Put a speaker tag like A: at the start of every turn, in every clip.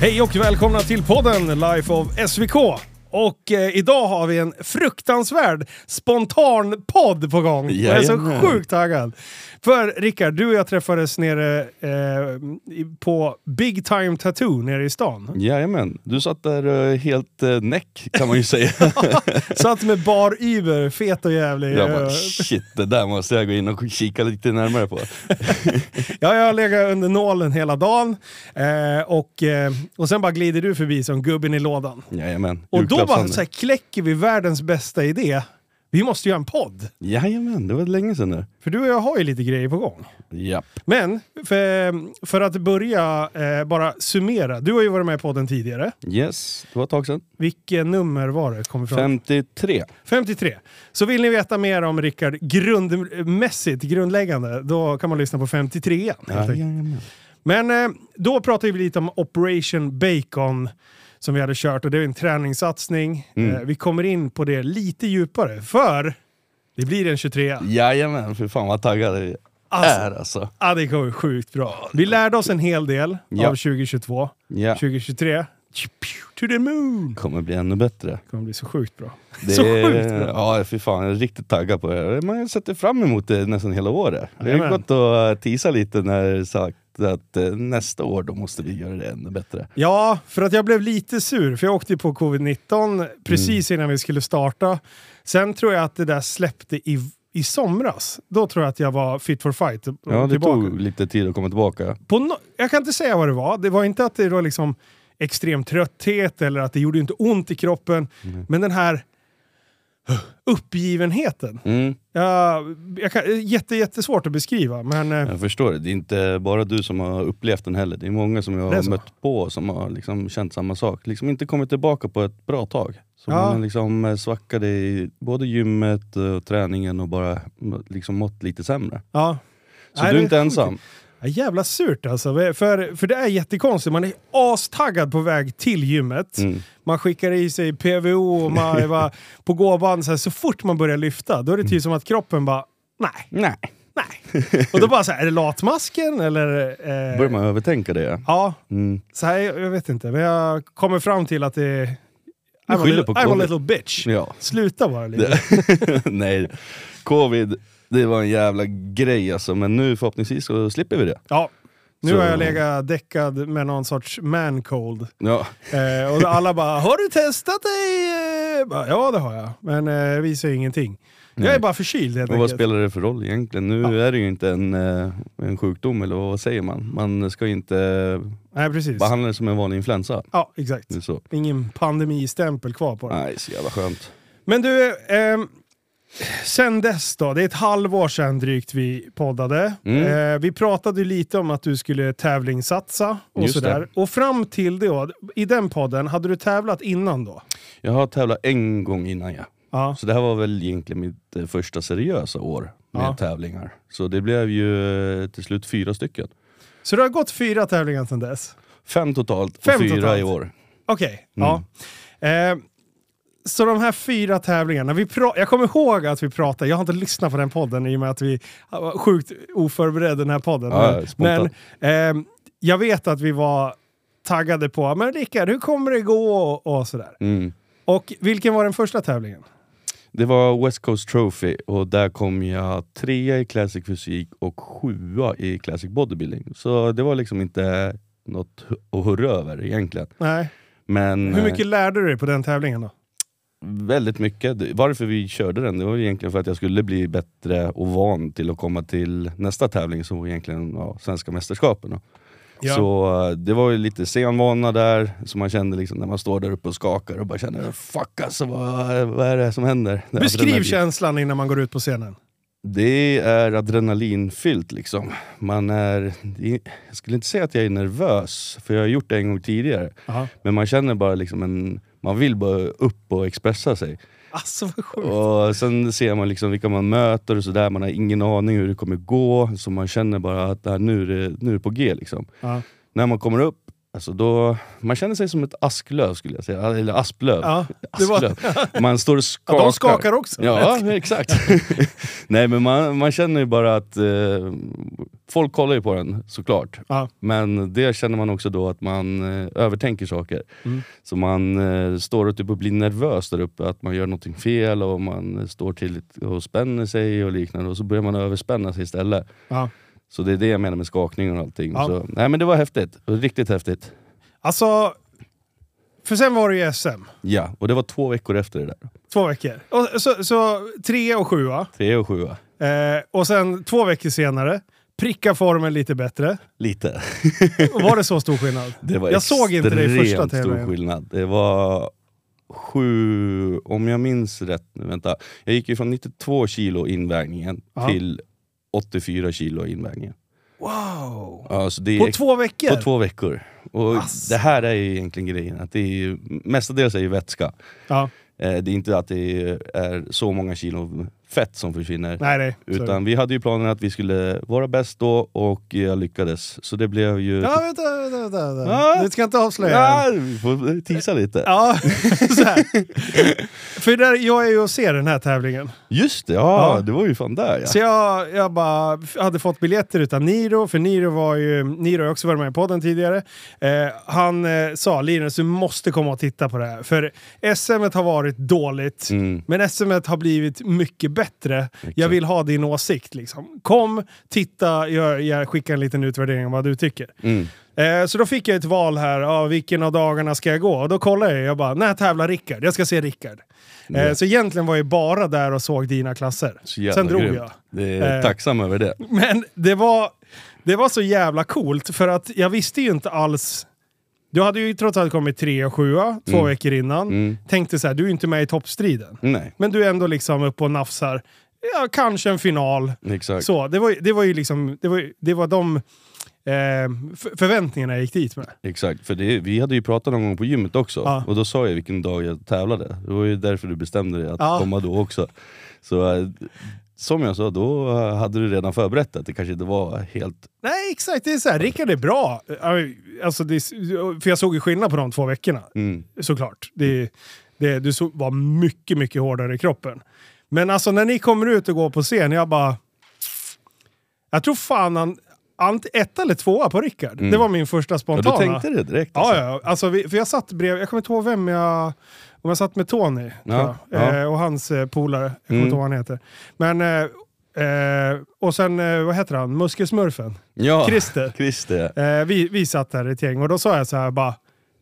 A: Hej och välkomna till podden Life of SVK. Och eh, idag har vi en fruktansvärd spontan podd på gång. Jag är så
B: Jajamän.
A: sjukt taggad. För Rickard, du och jag träffades nere eh, i- på Big Time Tattoo nere i stan.
B: Jajamän, du satt där eh, helt eh, näck kan man ju säga.
A: Satt med bar Uber, fet och jävlig. Eh,
B: jag bara shit, det där måste jag gå in och kika lite närmare på.
A: Ja, jag har legat under nålen hela dagen. Eh, och, eh, och sen bara glider du förbi som gubben i lådan.
B: Jajamän,
A: Och då bara
B: julklappshandel.
A: så här, kläcker vi världens bästa idé. Vi måste göra en podd.
B: Jajamän, det var länge sedan nu.
A: För du och jag har ju lite grejer på gång.
B: Japp.
A: Men för, för att börja eh, bara summera. Du har ju varit med på podden tidigare.
B: Yes, det var ett tag sedan.
A: Vilket nummer var det? Kommer ifrån?
B: 53.
A: 53. Så vill ni veta mer om Rickard grundmässigt, grundläggande, då kan man lyssna på 53.
B: Jajamän.
A: Men eh, då pratade vi lite om Operation Bacon som vi hade kört och det är en träningssatsning. Eh, vi kommer in på det lite djupare för det blir en 23.
B: Jajamän, för fan vad taggad vi
A: Alltså.
B: är alltså.
A: Ja, det kommer bli sjukt bra. Vi lärde oss en hel del
B: Ja.
A: av 2022.
B: Ja.
A: 2023, tju, pju, to the moon!
B: Kommer bli ännu bättre.
A: Det kommer bli så sjukt bra.
B: Det
A: Så
B: är-
A: sjukt bra!
B: Ja, för fan. Jag är riktigt taggad på det. Man sätter fram emot det nästan hela året. Jag har
A: Jajamän.
B: ju gått och teasat lite när sagt att eh, nästa år då måste vi göra det ännu bättre.
A: Ja, för att jag blev lite sur, för jag åkte ju på covid-19 precis
B: Mm.
A: innan vi skulle starta. Sen tror jag att det där släppte i, i somras. Då tror jag att jag var fit for fight. och- och
B: Ja, det
A: tillbaka.
B: tog lite tid att komma tillbaka.
A: på no- jag kan inte säga vad det var. Det var inte att det var liksom extrem trötthet eller att det gjorde inte ont i kroppen.
B: Mm.
A: Men den här uh, uppgivenheten.
B: Mm,
A: Jag, jag kan, jätte, jättesvårt att beskriva. Men, eh,
B: jag förstår det. Det är inte bara du som har upplevt den heller. Det är många som jag
A: Det är
B: har
A: så.
B: mött på som har liksom känt samma sak. Liksom inte kommit tillbaka på ett bra tag. Så
A: Ja.
B: man liksom eh, svackade i både gymmet eh, och träningen och bara mm, liksom mått lite sämre.
A: ja.
B: Så
A: Nej,
B: du
A: det
B: är inte
A: sjukt.
B: ensam.
A: Ja, jävla surt alltså. För, för det är jättekonstigt. Man är astaggad på väg till gymmet.
B: Mm.
A: Man skickar i sig PVO och man är bara på gåband. Så, här, så fort man börjar lyfta, då är det
B: Mm.
A: typ som att kroppen bara nej,
B: Nej.
A: nej. Och då bara så här, är det latmasken eller? Eh,
B: Börjar man övertänka det?
A: Ja,
B: Mm.
A: så här, jag vet inte. Men jag kommer fram till att det är... I'm a
B: skyller
A: little,
B: på
A: I'm a
B: covid.
A: little bitch.
B: Ja.
A: Sluta bara lite.
B: Nej, covid, det var en jävla grej alltså. Men nu förhoppningsvis så slipper vi det.
A: Ja. Nu
B: Så-
A: har jag legat däckad med någon sorts man cold.
B: Ja,
A: Eh, och alla bara “Har du testat dig?” Eh, bara, Ja, det har jag. Men eh, visar ju ingenting. Jag är
B: Nej.
A: bara förkyld helt
B: och vad
A: enkelt.
B: spelar det för roll egentligen? Nu är det ju inte en, eh, en sjukdom, eller vad säger man? Man ska ju inte
A: Nej, precis.
B: behandla det som en vanlig influensa.
A: Ja, exakt.
B: Det är så.
A: Ingen pandemistämpel kvar på det.
B: Mm. Nej, så jävla skönt.
A: Men du, ehm, sen dess då. Det är ett halvår sedan drygt vi poddade.
B: Mm.
A: Eh, vi pratade ju lite om att du skulle tävlingssatsa och
B: Just
A: sådär. Och fram till då, i den podden, hade du tävlat innan då?
B: Jag har tävlat en gång innan jag.
A: Ja.
B: Så det här var väl egentligen mitt eh, första seriösa år med
A: Ja.
B: tävlingar. Så det blev ju eh, till slut fyra stycken.
A: Så det har gått fyra tävlingar sedan dess?
B: Fem totalt och
A: Fem
B: fyra
A: totalt.
B: i år.
A: Okej, ja.
B: Mm.
A: Eh, så de här fyra tävlingarna, vi pra- jag kommer ihåg att vi pratade, jag har inte lyssnat på den podden i och med att vi var sjukt oförberedda den här podden.
B: Ja,
A: men
B: spontant.
A: men ehm, jag vet att vi var taggade på, men Rickard hur kommer det gå och, och sådär.
B: Mm.
A: Och vilken var den första tävlingen?
B: Det var West Coast Trophy och där kom jag trea i Classic Fysik och sjua i Classic Bodybuilding. Så det var liksom inte något hu- att hurra över egentligen.
A: Nej.
B: Men
A: Hur
B: eh,
A: mycket lärde du dig på den tävlingen då?
B: väldigt mycket. Det- Varför vi körde den, det var egentligen för att jag skulle bli bättre och van till att komma till nästa tävling som var egentligen ja, Svenska Mästerskapen. då. Så eh, det var ju lite senvana där, som man kände liksom när man står där uppe och skakar och bara känner fuck alltså, vad, vad är det som händer? Det alltså, är
A: Beskriv
B: adrenalin.
A: känslan innan man går ut på scenen.
B: Det är adrenalinfyllt liksom. Man är, jag skulle inte säga att jag är nervös, för jag har gjort det en gång tidigare.
A: Aha.
B: Men man känner bara liksom en, man vill bara upp och expressa sig.
A: Alltså vad sjukt.
B: Och sen ser man liksom vilka man möter och sådär, man har ingen aning hur det "Äh, kommer gå. Så man känner bara att det här, nu, är det, nu är det på G liksom.
A: Ja.
B: När man kommer upp Alltså då, man känner sig som ett asklöv skulle jag säga, eller asplöv.
A: Ja, det var-
B: asklöv. Man står
A: Ja,
B: och skakar.
A: de skakar också.
B: Ja, exakt. Nej men man, man känner ju bara att eh, folk kollar ju på den såklart.
A: Ja.
B: Men det känner man också då att man eh, övertänker saker.
A: Mm.
B: Så man eh, står och typ och blir nervös där uppe, att man gör någonting fel och man eh, står till och spänner sig och liknande och så börjar man överspänna sig istället.
A: Ja.
B: Så det är det jag menar med skakningen och allting.
A: Ja.
B: Så, nej men det var häftigt, riktigt häftigt.
A: Alltså, för sen var det ju SM.
B: Ja, och det var två veckor efter det där.
A: Två veckor. Och, så, så tre och sjua.
B: Tre och sjua.
A: Eh, och sen två veckor senare, pricka formen lite bättre.
B: Lite.
A: Och var det så stor skillnad?
B: Det var
A: Jag såg inte dig
B: extremt
A: första
B: stor
A: tävlingen.
B: skillnad. Det var sju, om jag minns rätt nu, vänta. Jag gick ju från 92 kilo invägningen
A: Ja.
B: till 84 kilo invägningen.
A: Wow!
B: Ja, så det är
A: På
B: ex-
A: två veckor?
B: på två veckor. Och
A: Ass.
B: det här är ju egentligen grejen, att det är ju, mestadels är ju vätska.
A: Ja,
B: Eh, Det är inte att det är så många kilo fett som försvinner.
A: nej nej. Så-
B: Utan vi hade ju planen att vi skulle vara bäst då och jag lyckades. Så det blev ju...
A: Ja, vänta, vänta, vänta. vänta.
B: Ja.
A: Du ska inte avslöja än.
B: Ja, vi får tisa lite.
A: Ja, så här. För där, jag är ju och ser den här tävlingen.
B: Just det, ja,
A: Ja.
B: det var ju fan där ja.
A: Så jag, jag bara f- hade fått biljetter utan Niro, för Niro var ju, Niro har ju också varit med i podden tidigare. Eh, han eh, sa Linus, du måste komma och titta på det här. För SM har varit dåligt,
B: Mm.
A: men SM har blivit mycket bättre. Jag vill ha din åsikt liksom. Kom, titta, jag, jag skickar en liten utvärdering om vad du tycker.
B: Mm.
A: Eh, så då fick jag ett val här, ah, vilken av dagarna ska jag gå? Och då kollade jag, jag bara, när tävlar Rickard? Jag ska se Rickard. Eh,
B: Ja.
A: så egentligen var jag bara där och såg dina klasser.
B: Mm. Så jävla
A: Sen drog
B: grymt.
A: jag.
B: Det är
A: Eh.
B: Tacksam över det.
A: Men det var, det var så jävla coolt för att jag visste ju inte alls. Du hade ju trots allt kommit tre och sjua två
B: Mm.
A: veckor innan.
B: Mm.
A: Tänkte så här, du är inte med i toppstriden.
B: Nej,
A: Men du är ändå liksom uppe och nafsar. Ja, kanske en final.
B: exakt.
A: Så, det var, ju- det var ju liksom, det var, ju- det var de eh, f- förväntningarna jag gick dit med.
B: Exakt, för det, vi hade ju pratat någon gång på gymmet också,
A: Ja.
B: och då sa jag vilken dag jag tävlade. Det var ju därför du bestämde dig att
A: Ja.
B: komma då också. Så eh, som jag sa, då eh, hade du redan förberett att det kanske inte var helt...
A: Nej, exakt. Det är så här, Rickard är bra. Alltså, det, är- för jag såg ju skillnad på de två veckorna.
B: Mm.
A: såklart. Det, det, du så, var mycket, mycket hårdare i kroppen. Men alltså när ni kommer ut och går på scen, jag bara... Jag tror fan han... Ant, ett eller tvåa på Rickard. Det var min första
B: Mm. Ja, du
A: spontana.
B: tänkte det direkt?
A: Ja, ja. Alltså, vi, för jag satt bredvid, jag kommer inte ihåg vem jag... Om jag satt med Tony tror
B: Ja,
A: jag,
B: ja.
A: Eh, och hans eh, polare. Jag kommer
B: Mm.
A: inte ihåg vad han heter. Men... Eh, eh, och sen, eh, vad heter han? Muskelsmurfen.
B: ja.
A: Christer.
B: Christer.
A: Eh, vi, vi satt där i ett gäng och då sa jag så här bara,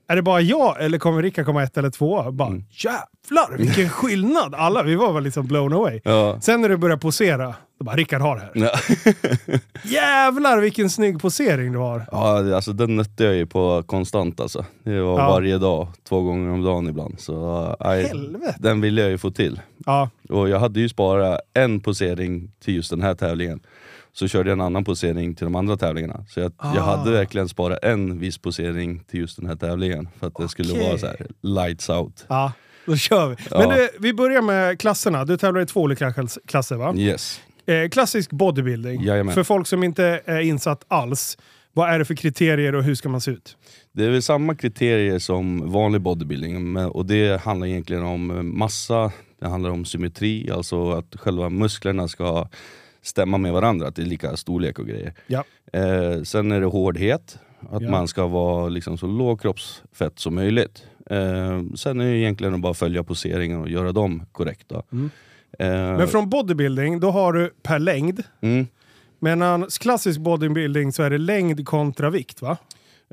A: är det bara jag eller kommer Rickard komma ett eller två? Bara,
B: Mm.
A: Jävlar vilken skillnad! Alla, vi var väl liksom blown away.
B: Ja.
A: Sen när du börjar posera, då bara Rickard har det här.
B: Ja.
A: Jävlar vilken snygg posering du har!
B: Ja, det- alltså den nötte jag ju på konstant alltså. Det var
A: Ja.
B: varje dag, två gånger om dagen ibland. Så, eh, aj,
A: Helvete.
B: den ville jag ju få till.
A: Ja,
B: Och jag hade ju sparat en posering till just den här tävlingen. Så körde jag en annan posering till de andra tävlingarna. Så jag, jag
A: Ah.
B: hade verkligen sparat en viss posering till just den här tävlingen. För att det skulle
A: Okej.
B: vara så här lights out.
A: ja. Då kör vi.
B: Ja.
A: Men du, vi börjar med klasserna. Du tävlar i två olika klass- klasser va?
B: Yes.
A: Eh, klassisk bodybuilding.
B: Jajamän.
A: För folk som inte är insatt alls. Vad är det för kriterier och hur ska man se ut?
B: Det är väl samma kriterier som vanlig bodybuilding men- och det handlar egentligen om massa, det handlar om symmetri, alltså att själva musklerna ska stämma med varandra, att det är lika storlek och grejer.
A: Ja.
B: Eh, sen är det hårdhet, att
A: Ja.
B: man ska vara liksom så låg kroppsfett som möjligt. Eh, sen är det egentligen att bara följa poseringen och göra dem korrekta.
A: Mm.
B: Eh,
A: Men från bodybuilding, då har du per längd.
B: mm,
A: Medan klassisk bodybuilding så är det längd kontra vikt va?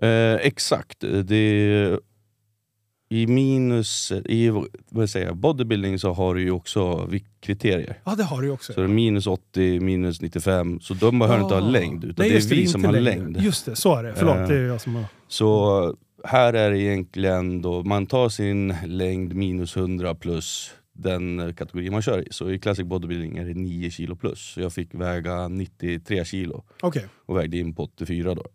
B: eh, exakt, det är, i minus, i vad säger jag, bodybuilding så har du ju också viktkriterier.
A: Ja det har du ju också. Ah.
B: Så det är minus 80, minus 95, så de behöver inte ha längd, utan Ah. det är vi som har längd.
A: Just det, så är det. Förlåt,
B: Eh.
A: det är jag som har...
B: Så här är det egentligen då, man tar sin längd minus 100 plus den eh, kategori man kör i. Så i Classic Bodybuilding är det 9 kilo plus. Så jag fick väga 93 kilo
A: Okej.
B: och vägde in på 84 då.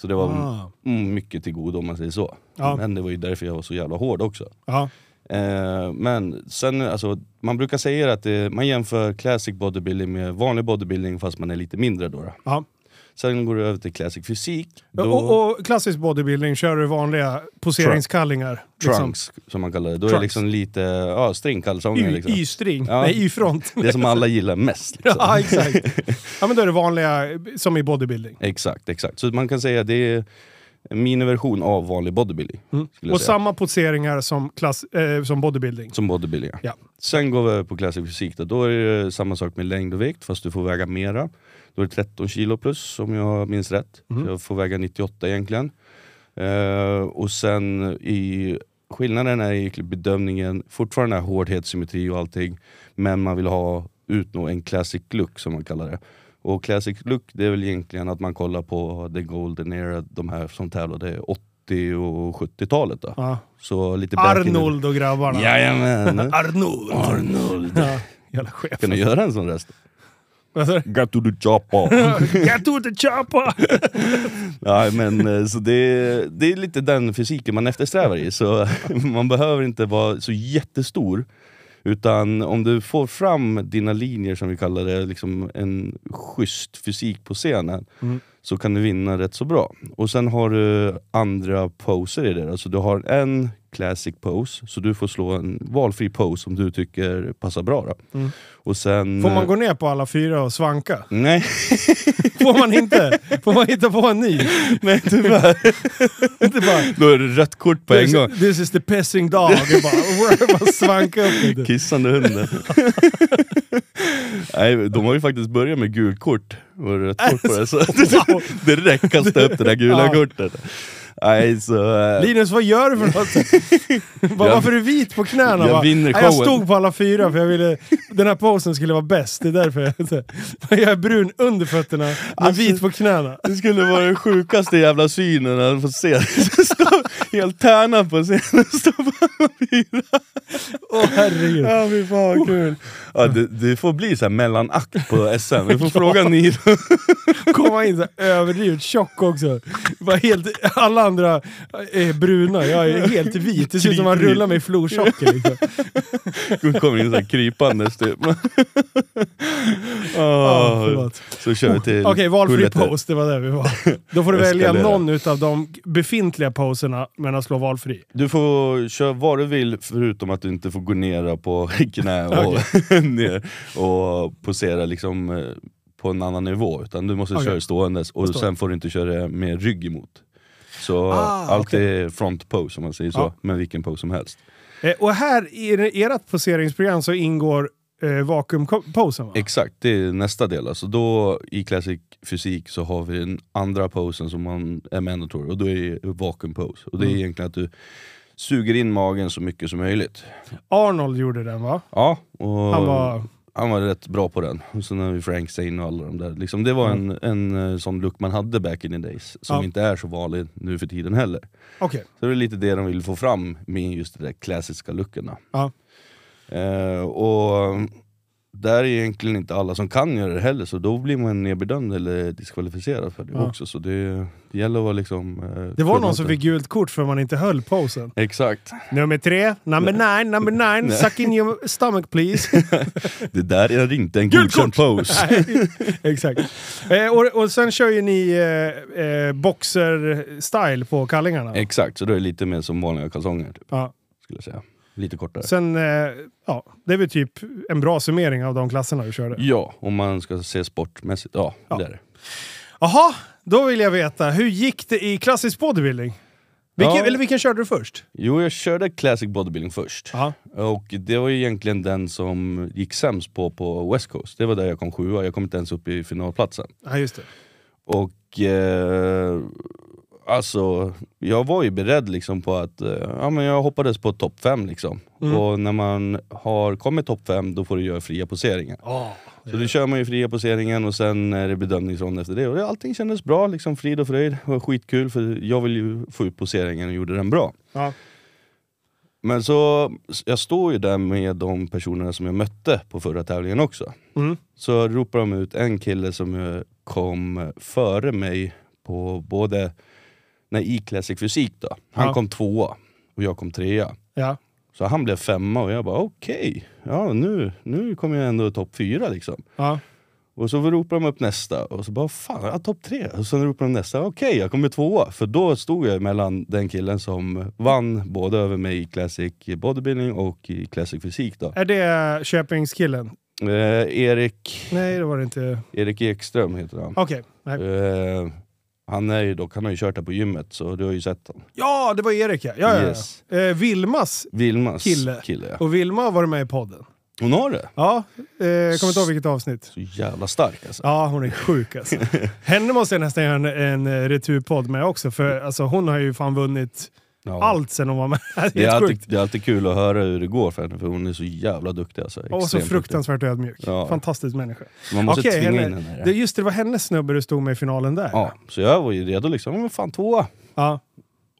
B: Så det var
A: Ah.
B: mm, mycket till godo om man säger så.
A: Ja.
B: Men det var ju därför jag var så jävla hård också.
A: Ja.
B: Eh, men sen, alltså, man brukar säga att eh, man jämför classic bodybuilding med vanlig bodybuilding fast man är lite mindre. Då, då.
A: ja.
B: Sen går du över till classic fysik.
A: Ja,
B: Då,
A: Och, och klassisk bodybuilding, kör du vanliga poseringskallingar? liksom?
B: trunks, som man kallar det. Då är
A: Trunks.
B: det liksom lite ja, stringkalsonger.
A: Liksom.
B: Liksom.
A: Y- Y-string,
B: Ja.
A: nej Y-front.
B: Det som alla gillar mest. Liksom.
A: ja, exakt. Ja, men då är det vanliga eh, som i bodybuilding.
B: Exakt, exakt. Så man kan säga att det är en miniversion av vanlig bodybuilding. skulle jag
A: Mm. Och
B: säga.
A: samma poseringar som, klass, eh, som bodybuilding.
B: Som bodybuilding, ja.
A: Ja.
B: Sen går vi över på classic fysik. Då. då är det samma sak med längd och vikt, fast du får väga mera. Då är det 13 kilo plus, om jag minns rätt. Så jag får väga 98 egentligen. Eh, och sen i skillnaden är i bedömningen, fortfarande är hårdhet, symmetri och allting. Men man vill ha utnå en classic look som man kallar det. Och classic look det är väl egentligen att man kollar på the golden era, de här som tävlade 80 och 70-talet. Då.
A: Ja.
B: Så lite back in the-
A: Arnold och grabbarna.
B: Jajamän!
A: Arnold!
B: Arnold.
A: Ja, jävla chef.
B: Kan du göra en sån röst?
A: Vad sa du?
B: Got to the choppa.
A: Get to the chopper!
B: Nej men eh, så det, det är lite den fysiken man eftersträvar i. Så man behöver inte vara så jättestor. Utan om du får fram dina linjer, som vi kallar det, liksom en schysst fysik på scenen.
A: Mm.
B: Så kan du vinna rätt så bra. Och sen har du andra poser i det. Alltså du har en classic pose, så du får slå en valfri pose som du tycker passar bra. Då. Och sen...
A: Mm.
B: eh,
A: Får man gå ner på alla fyra och svanka?
B: Nej.
A: Får man inte? Får man hitta på en ny?
B: Nej tyvärr.
A: Inte bara,
B: Då är det rött kort på en gång.
A: this, this is the pissing dog. Och bara, bara svanka upp lite.
B: Kissande hunden. Nej, de har ju faktiskt börjat med gult kort och rött kort på det. Så
A: Wow.
B: direkt kasta upp det där gula
A: Ja.
B: kortet. Nej, så... eh,
A: Linus, vad gör du för något? Bara,
B: Jag-
A: varför är du vit på knäna?
B: jag
A: Bara,
B: vinner
A: "Nej, jag
B: showen."
A: stod på alla fyra för jag ville... Den här posen skulle vara bäst. Det är därför jag... Jag är brun under fötterna, men
B: Alltså-
A: vit på knäna.
B: Det skulle vara den sjukaste jävla synen att få se. Stå helt tärna på scenen. Stå på alla fyra.
A: Åh herregud.
B: Ja, fy fan vad kul. Ja, det, det får bli så här mellanakt på SM. Vi får fråga Nilo.
A: komma in så här överdrivet tjock också. Bara helt, alla andra är bruna, jag är helt vit. Det ser ut som man rullar mig i florsocker. Liksom.
B: Hon kommer in så här krypandes typ. Ah,
A: Ja,
B: Åh.
A: förlåt.
B: så kör vi till...
A: Okej, valfri
B: Gulletter.
A: pose, det var där vi var. Då får du
B: Jag
A: välja
B: ska lära.
A: någon utav de befintliga poserna, men att slå valfri.
B: Du får köra vad du vill förutom att du inte får gå ner på knä och, ner och posera liksom eh, på en annan nivå. Utan du måste
A: Okej.
B: köra ståendes och
A: Förstår.
B: sen får du inte köra med rygg emot. Så
A: Ah,
B: allt
A: okej.
B: är front pose om man säger så,
A: Ja.
B: men vilken pose som helst.
A: Eh, och här i ert poseringsprogram så ingår eh, vakuumposen va?
B: Exakt, det är nästa del. Alltså då I classic fysik så har vi den andra posen som man är mandatory, och då är vacuum pose. Och det är
A: Mm.
B: egentligen att du suger in magen så mycket som möjligt.
A: Arnold gjorde den va?
B: Ja, och
A: Han var...
B: han var rätt bra på den. Och sen har vi Frank Zane och alla de där. Liksom, det var en, en eh, sån look man hade back in the days, som
A: Mm. Ja.
B: inte är så vanlig nu för tiden heller.
A: Okej.
B: Så det är lite det de vill få fram med just de där klassiska lookerna.
A: Ja.
B: Eh, och där är egentligen inte alla som kan göra det heller, så då blir man nedbedömd eller diskvalificerad för det
A: Ja.
B: också. Så det, det gäller att vara liksom... eh,
A: Det var någon som
B: fullhänt.
A: fick gult kort för man inte höll posen.
B: Exakt.
A: Nummer tre, number nine, number nine,
B: Nej.
A: suck in your stomach please.
B: Det där är inte en
A: Gult
B: godkänd pose.
A: Nej, Exakt. Eh, och, och sen kör ju ni eh, eh, boxer-style på kallingarna.
B: Exakt, så då är det lite mer som vanliga kalsonger, typ,
A: ja.
B: skulle jag säga. Lite kortare.
A: Sen, eh, ja, det är väl typ en bra summering av de klasserna du körde.
B: Ja, om man ska se sportmässigt. Ja,
A: Ja.
B: det är det.
A: Jaha, då vill jag veta, hur gick det i klassisk bodybuilding? Vilken,
B: Ja.
A: Eller vilken körde du först?
B: Jo, jag körde classic bodybuilding först.
A: Ja.
B: Och det var ju egentligen den som gick sämst på på West Coast. Det var där jag kom sjua, jag kom inte ens upp i finalplatsen.
A: Ja, just det.
B: Och eh, alltså, jag var ju beredd liksom på att eh, ja, men jag hoppades på topp fem. Liksom.
A: Mm.
B: Och när man har kommit topp fem, då får du göra fria poseringar. Så då kör man ju fria poseringen och sen är det bedömningsrond efter det. Och allting kändes bra, liksom frid och fröjd. Det var skitkul för jag ville ju få ut poseringen och gjorde den bra.
A: Ja.
B: Men så, jag står ju där med de personerna som jag mötte på förra tävlingen också.
A: Mm.
B: Så ropar de ut en kille som eh, kom före mig på både, nej, i classic fysik då. Han
A: Ja.
B: kom tvåa och jag kom trea.
A: Ja.
B: Så han blev femma och jag bara okej, ja, nu, nu kommer jag ändå topp fyra liksom.
A: Ja.
B: Och så ropade de upp nästa, och så bara fan, ja, topp tre. Och sen ropade de nästa, okej jag kommer tvåa. För då stod jag mellan den killen som vann både över mig i Classic Bodybuilding och i Classic Fysik då.
A: Är det Köpingskillen?
B: Eh, Erik,
A: Nej, det var det inte.
B: Erik Ekström heter han.
A: Okej. nej.
B: Eh, han, är ju dock, han har ju kört här på gymmet, så du har ju sett honom.
A: Ja, det var Erik ja. ja, ja, ja.
B: Yes.
A: Eh, Vilmas
B: Vilmas
A: Kille.
B: kille ja.
A: och Vilma har varit med i podden.
B: Hon har det!
A: Ja, eh, jag kommer inte ihåg vilket avsnitt.
B: Så jävla stark alltså.
A: Ja, hon är sjuk alltså. Henne måste jag nästan göra en, en eh, returpodd med också, för alltså, hon har ju fan vunnit
B: Mm. Ja.
A: allt sen hon var med. Det är,
B: Det är,
A: helt sjukt.
B: alltid, det är alltid kul att höra hur det går för henne, för hon är så jävla duktig. Alltså.
A: Och så
B: Extremt
A: fruktansvärt ödmjuk.
B: Ja.
A: Fantastisk människa.
B: duktig. Så Man måste
A: Okej,
B: tvinga
A: henne-
B: in henne i
A: Det,
B: det.
A: just det, det var hennes snubbe du stod med i finalen där.
B: Ja, så jag var ju redo liksom, men fan tvåa.
A: Ja.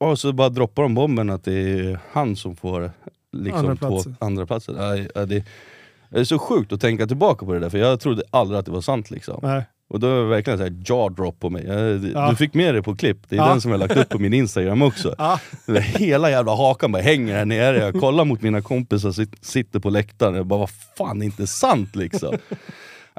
B: Och så bara droppar de bomben att det är han som får liksom
A: Andra
B: andra två
A: platser.
B: andra platser. Aj, aj, det det är så sjukt att tänka tillbaka på det där, för jag trodde aldrig att det var sant. liksom.
A: Nej.
B: Och då var det verkligen så här jaw drop på mig. Jag-
A: Ja.
B: Du fick med det på klipp, det är
A: Ja.
B: den som jag lagt upp på min Instagram också.
A: Ja.
B: Den där Hela jävla hakan bara hänger här nere, jag kollar mot mina kompisar som sit- sitter på läktaren, jag bara vad fan det är inte sant liksom.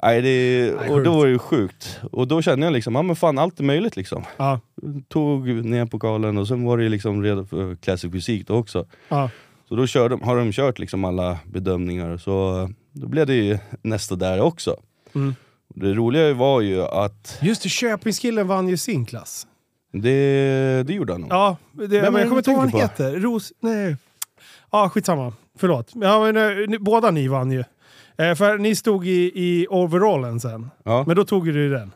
B: Nej, det, och
A: sjukt.
B: då var det ju sjukt. Och då kände jag liksom, ja men fan allt är möjligt liksom.
A: Ja.
B: Tog ner pokalen och sen var det ju liksom redo för klassisk fysik då också.
A: Ja.
B: Så då kör de, har de kört liksom alla bedömningar, så eh, då blev det ju nästa där också.
A: Mm.
B: Det roliga var ju att
A: Just det, Köpingskillen vann ju sin klass.
B: det, det gjorde han nog.
A: Ja, det, men
B: är det
A: jag kommer
B: du
A: inte ihåg vad han
B: tänker
A: heter. Ros... Nej. Ja, skitsamma. Förlåt. Ja, men, eh, ni, båda ni vann ju. Eh, för ni stod i, i overallen sen.
B: Ja.
A: Men då tog ju du den.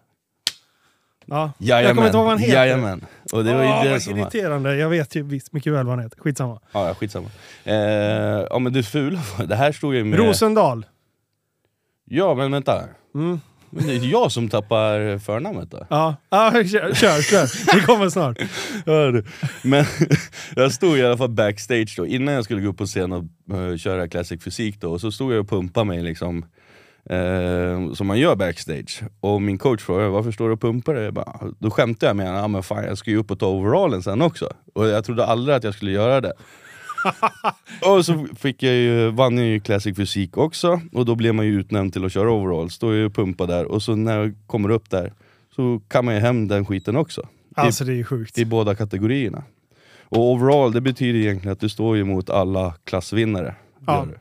A: Ja.
B: Jajamän.
A: Jag kommer inte ihåg vad han heter.
B: Jajamän. Och det var ju
A: Åh,
B: det
A: vad
B: som var...
A: irriterande. Jag vet ju visst mycket väl vad han heter. Skitsamma.
B: Ja, ja, skitsamma. Eh, ja men det fula var- det här stod ju med...
A: Rosendal.
B: Ja men vänta.
A: Mm.
B: Men det är ju jag som tappar förnamnet då.
A: Ja, ja kör, kör, kör. Det kommer snart.
B: Hör du? Men jag stod i alla fall backstage då, innan jag skulle gå upp på scen och eh, köra classic fysik då, och så stod jag och pumpade mig liksom, eh, som man gör backstage. Och min coach frågade varför står du och pumpar dig? Jag bara, Då skämtade jag med honom, ah, men fan jag ska ju upp och ta overallen sen också. Och jag trodde aldrig att jag skulle göra det. och så fick jag ju, vann jag ju Classic Fysik också, och då blev man ju utnämnd till att köra overall. Står jag och pumpar där, och så när jag kommer upp där så kan man ju hem den skiten också.
A: Alltså det är ju sjukt.
B: I båda kategorierna. Och overall, det betyder egentligen att du står ju mot alla klassvinnare.
A: Ja.
B: Gör du.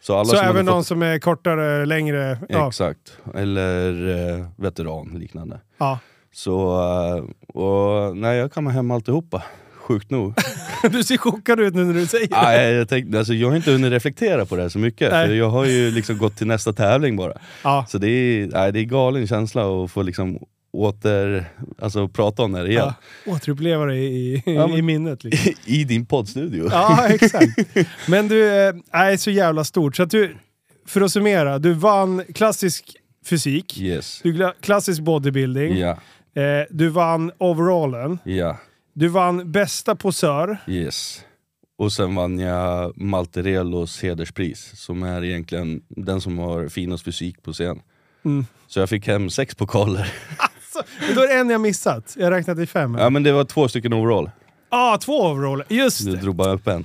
B: Så alla
A: Så
B: som
A: även
B: hade
A: de som är kortare, längre.
B: Fått...
A: Ja.
B: Exakt. Eller eh, veteran, liknande.
A: Ja.
B: Så, eh, och nej jag kammade hem alltihopa. Sjukt nog.
A: Du ser chockad ut nu när du säger det.
B: nej, jag, tänkte, alltså, jag har inte hunnit reflektera på det här så mycket.
A: Nej.
B: För jag har ju liksom gått till nästa tävling bara.
A: Ja.
B: Så det är, nej, det är galen känsla att få liksom åter, alltså prata om det här igen.
A: Ja. Återuppleva det i, i,
B: Ja, men-
A: i minnet. Liksom.
B: I din poddstudio.
A: Ja, exakt. Men du, eh, är så jävla stort. Så att du, för att summera, du vann klassisk fysik,
B: Yes.
A: du gla- klassisk bodybuilding,
B: Ja,
A: eh, du vann overallen,
B: ja.
A: du vann bästa posör.
B: Yes. Och sen vann jag Malterellos hederspris, som är egentligen den som har finast fysik på scen.
A: Mm.
B: Så jag fick hem sex pokaler.
A: Så, men då är det en jag missat. Jag räknade till fem.
B: Ja
A: Ja,
B: men det var två stycken overall,
A: ah, två overallen. Just
B: du
A: det.
B: drog bara upp en.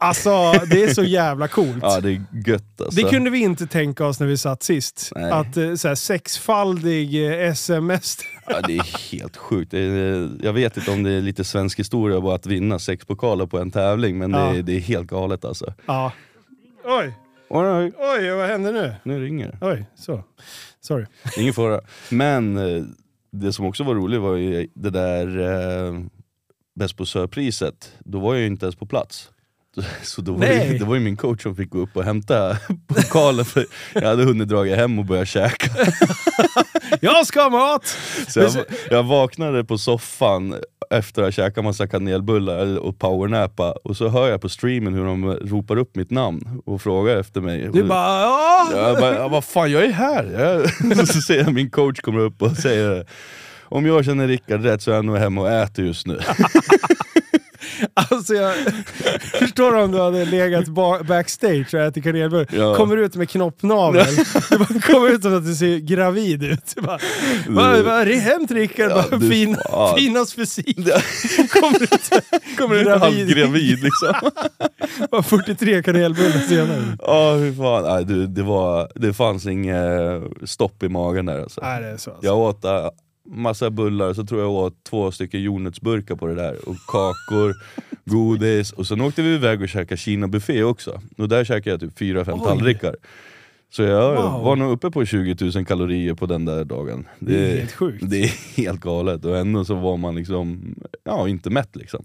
A: Alltså, det är så jävla coolt.
B: Ja det är gött alltså.
A: Det kunde vi inte tänka oss när vi satt sist.
B: Nej.
A: Att eh, såhär, sexfaldig eh, sms.
B: ja, det är helt sjukt. Det är- Jag vet inte om det är lite svensk historia bara att vinna sex pokaler på en tävling, men
A: Ja.
B: det, är, det är helt galet alltså.
A: ja. Oj,
B: All right.
A: oj, vad hände nu?
B: Nu ringer det.
A: Oj, så. Sorry.
B: Ingen fara. Men eh, det som också var roligt var ju det där eh, Bäst på Sör-priset. Då var jag ju inte ens på plats. Så då var
A: Nej.
B: ju, det var ju min coach som fick gå upp och hämta pokalen för jag hade hunnit dra hem och börja käka.
A: Jag ska ha mat!
B: Så jag, jag vaknade på soffan efter att ha käkat massa kanelbullar och powernappa och så hör jag på streamen hur de ropar upp mitt namn och frågar efter mig.
A: Du
B: Och-
A: bara ja.
B: jag bara, ja, vad fan jag är här! Jag, så ser jag min coach kommer upp och säger om jag känner Rickard rätt så är han nog hemma och äter just nu.
A: Alltså jag förstår om du hade legat ba- backstage och ätit kanelbullar.
B: Ja.
A: Kommer ut med knoppnaveln. Du bara kommer ut som att du ser gravid ut. Du bara, vad va, är hem till Rickard?
B: Ja,
A: bara,
B: du-
A: fin,
B: ja.
A: Finas fysik. Kommer ut, kommer ut
B: Halvgravid liksom.
A: Var 43 kanelbullar senare.
B: Ja, hur fan. Nej, du, det, var, det fanns inget stopp i magen där alltså.
A: Nej, det är så. Alltså.
B: Jag åt äh, massa bullar, så tror jag åt två stycken jordnötsburkar på det där. Och kakor, godis. Och sen åkte vi iväg och käkade Kina-buffé också. Och där käkade jag typ fyra fem
A: Oj.
B: tallrikar. Så jag
A: Wow.
B: var nog uppe på 20 000 kalorier på den där dagen.
A: Det är helt sjukt.
B: Det är helt galet, och ändå så var man liksom, ja inte mätt liksom.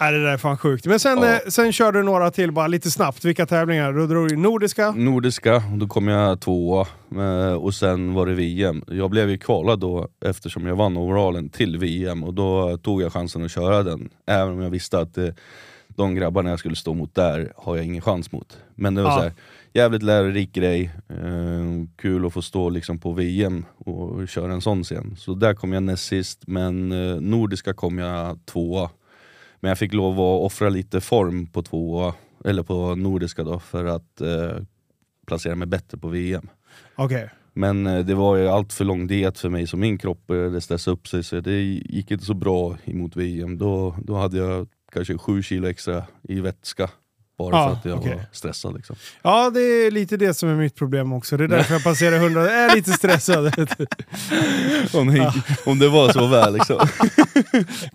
A: Nej, det där är fan sjukt. Men sen,
B: Ja.
A: eh, sen körde du några till bara lite snabbt. Vilka tävlingar? Då drog du nordiska.
B: Mm. Nordiska, då kom jag tvåa, eh, och sen var det VM. Jag blev ju kvalad då eftersom jag vann overallen till VM, och då tog jag chansen att köra den. Även om jag visste att eh, de grabbarna jag skulle stå mot där har jag ingen chans mot. Men det var
A: Ja.
B: så här, jävligt lärorik grej, eh, kul att få stå liksom på VM och köra en sån scen. Så där kom jag näst sist, men eh, Nordiska kom jag tvåa. Men jag fick lov att offra lite form på tvåa, eller på Nordiska då, för att eh, placera mig bättre på VM.
A: Okej.
B: Men eh, det var ju allt för lång diet för mig, så min kropp började stressa upp sig. Så det gick inte så bra emot VM. Då, då hade jag kanske sju kilo extra i vätska. Bara
A: Ja,
B: för att jag var
A: okej.
B: stressad. Liksom.
A: Ja, det är lite det som är mitt problem också. Det är därför jag passerar 100. Jag är lite stressad.
B: Om, ni, om det var så väl liksom.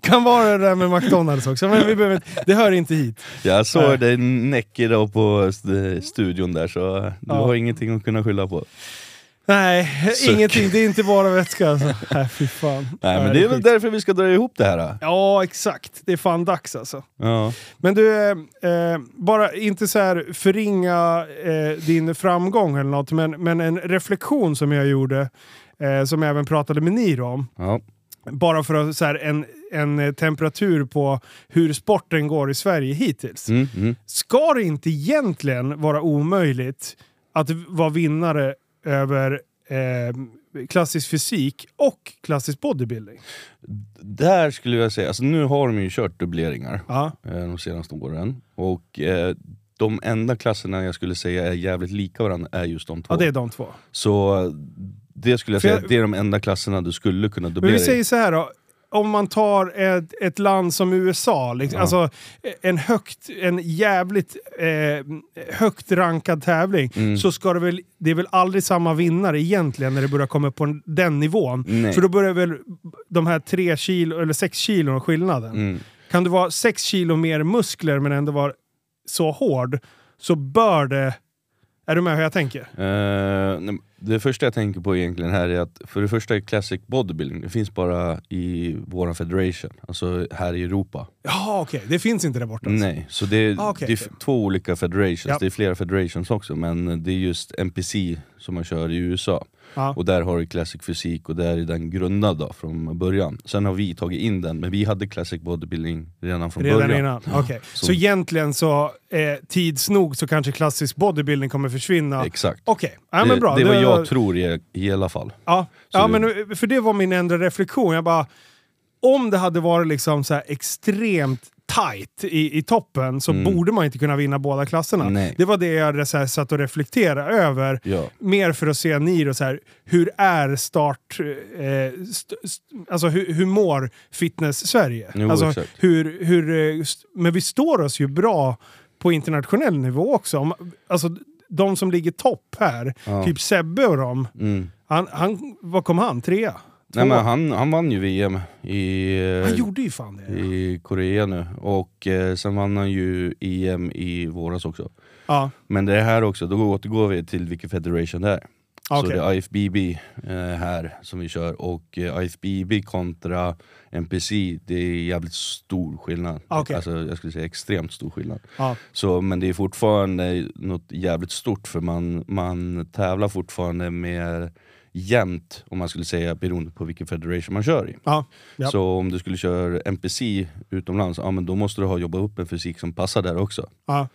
A: kan vara det där med McDonalds också, men vi behöver, inte- det hör inte hit.
B: Jag
A: Nej.
B: såg dig näck idag på st- studion där, så eh, du
A: Ja.
B: har ingenting att kunna skylla på.
A: Nej,
B: Suck.
A: ingenting. Det är inte bara vätska alltså. Nej, fy fan.
B: Nej,
A: Ja,
B: men det är väl
A: sjukt.
B: därför vi ska dra ihop det här. då.
A: Ja, exakt. Det är fan dags alltså.
B: Ja.
A: Men du, eh, eh, bara inte så här förringa eh, din framgång eller något, men, men en reflektion som jag gjorde, eh, som jag även pratade med Niro om,
B: Ja.
A: bara för att så här, en, en eh, temperatur på hur sporten går i Sverige hittills.
B: Mm, mm.
A: Ska det inte egentligen vara omöjligt att v- vara vinnare över eh, klassisk fysik och klassisk bodybuilding?
B: Där skulle jag säga, alltså nu har de ju kört dubbleringar.
A: Ja,
B: eh, de senaste åren. Och eh, de enda klasserna jag skulle säga är jävligt lika varandra är just de två.
A: ja det är de två.
B: Så eh, det skulle jag
A: För
B: säga,
A: jag-
B: att det är de enda klasserna du skulle kunna
A: Men
B: dubblera
A: vi
B: i.
A: säger så här då. Om man tar ett, ett land som USA, liksom,
B: Ja.
A: alltså en, högt, en jävligt eh, högt rankad tävling,
B: Mm.
A: så ska det väl, det är väl aldrig samma vinnare egentligen när det börjar komma upp på en- den nivån.
B: Nej.
A: För då börjar väl de här tre kilo, eller sex kilon skillnaden.
B: Mm.
A: Kan du vara sex kilo mer muskler men ändå vara så hård, så bör det... Är du med hur jag tänker?
B: Eh, nej, det första jag tänker på egentligen här är att, för det första är classic bodybuilding, det finns bara i våran federation, alltså här i Europa.
A: Ja, okej. Det finns inte där borta. alltså.
B: Nej, så det är,
A: Ah, okej,
B: det är f-
A: okej.
B: två olika federations,
A: Ja.
B: det är flera federations också, men det är just NPC som man kör i USA.
A: Ja.
B: Och där har du Classic Fysik och där är den grundad då, från början. Sen har vi tagit in den, men vi hade Classic Bodybuilding redan från
A: Redan
B: början.
A: innan? Okej. Så.
B: så-
A: egentligen så, eh, tids nog så kanske klassisk bodybuilding kommer försvinna?
B: Exakt.
A: Okej, ja, men bra.
B: Det, det är vad
A: var-
B: jag tror i, i alla fall.
A: Ja,
B: Så
A: ja
B: det-
A: men eh, för det var min enda reflektion. Jag bara, om det hade varit liksom så här extremt tight i, i toppen så borde man inte kunna vinna båda klasserna.
B: Mm. Nej.
A: Det var det jag så här, satt och reflekterade över.
B: Ja.
A: Mer för att se Niro, så här, hur är start... Eh, st, st, alltså hur, hur mår fitness-Sverige?
B: Jo,
A: alltså,
B: exakt.
A: hur, hur, eh, st, men vi står oss ju bra på internationell nivå också. Om, alltså, de som ligger topp här,
B: Ja.
A: typ Sebbe och dem,
B: Mm.
A: han, han, vad kom han? Trea? Tvåa?
B: Nej, men han, han vann ju VM i, eh,
A: han gjorde ju fan det.
B: i Korea nu, och eh, sen vann han ju EM i våras också.
A: Ja,
B: Men det här också, då återgår vi till vilken federation det är. Så
A: okej.
B: det är IFBB eh, här som vi kör, och eh, IFBB kontra NPC, det är jävligt stor skillnad.
A: Okej.
B: Alltså, jag skulle säga extremt stor skillnad.
A: Ja.
B: Så, men det är fortfarande något jävligt stort, för man, man tävlar fortfarande mer jämnt, om man skulle säga, beroende på vilken federation man kör i.
A: Ja. Ja.
B: Så om du skulle köra NPC utomlands, ja, men då måste du ha jobbat upp en fysik som passar där också.
A: Ja.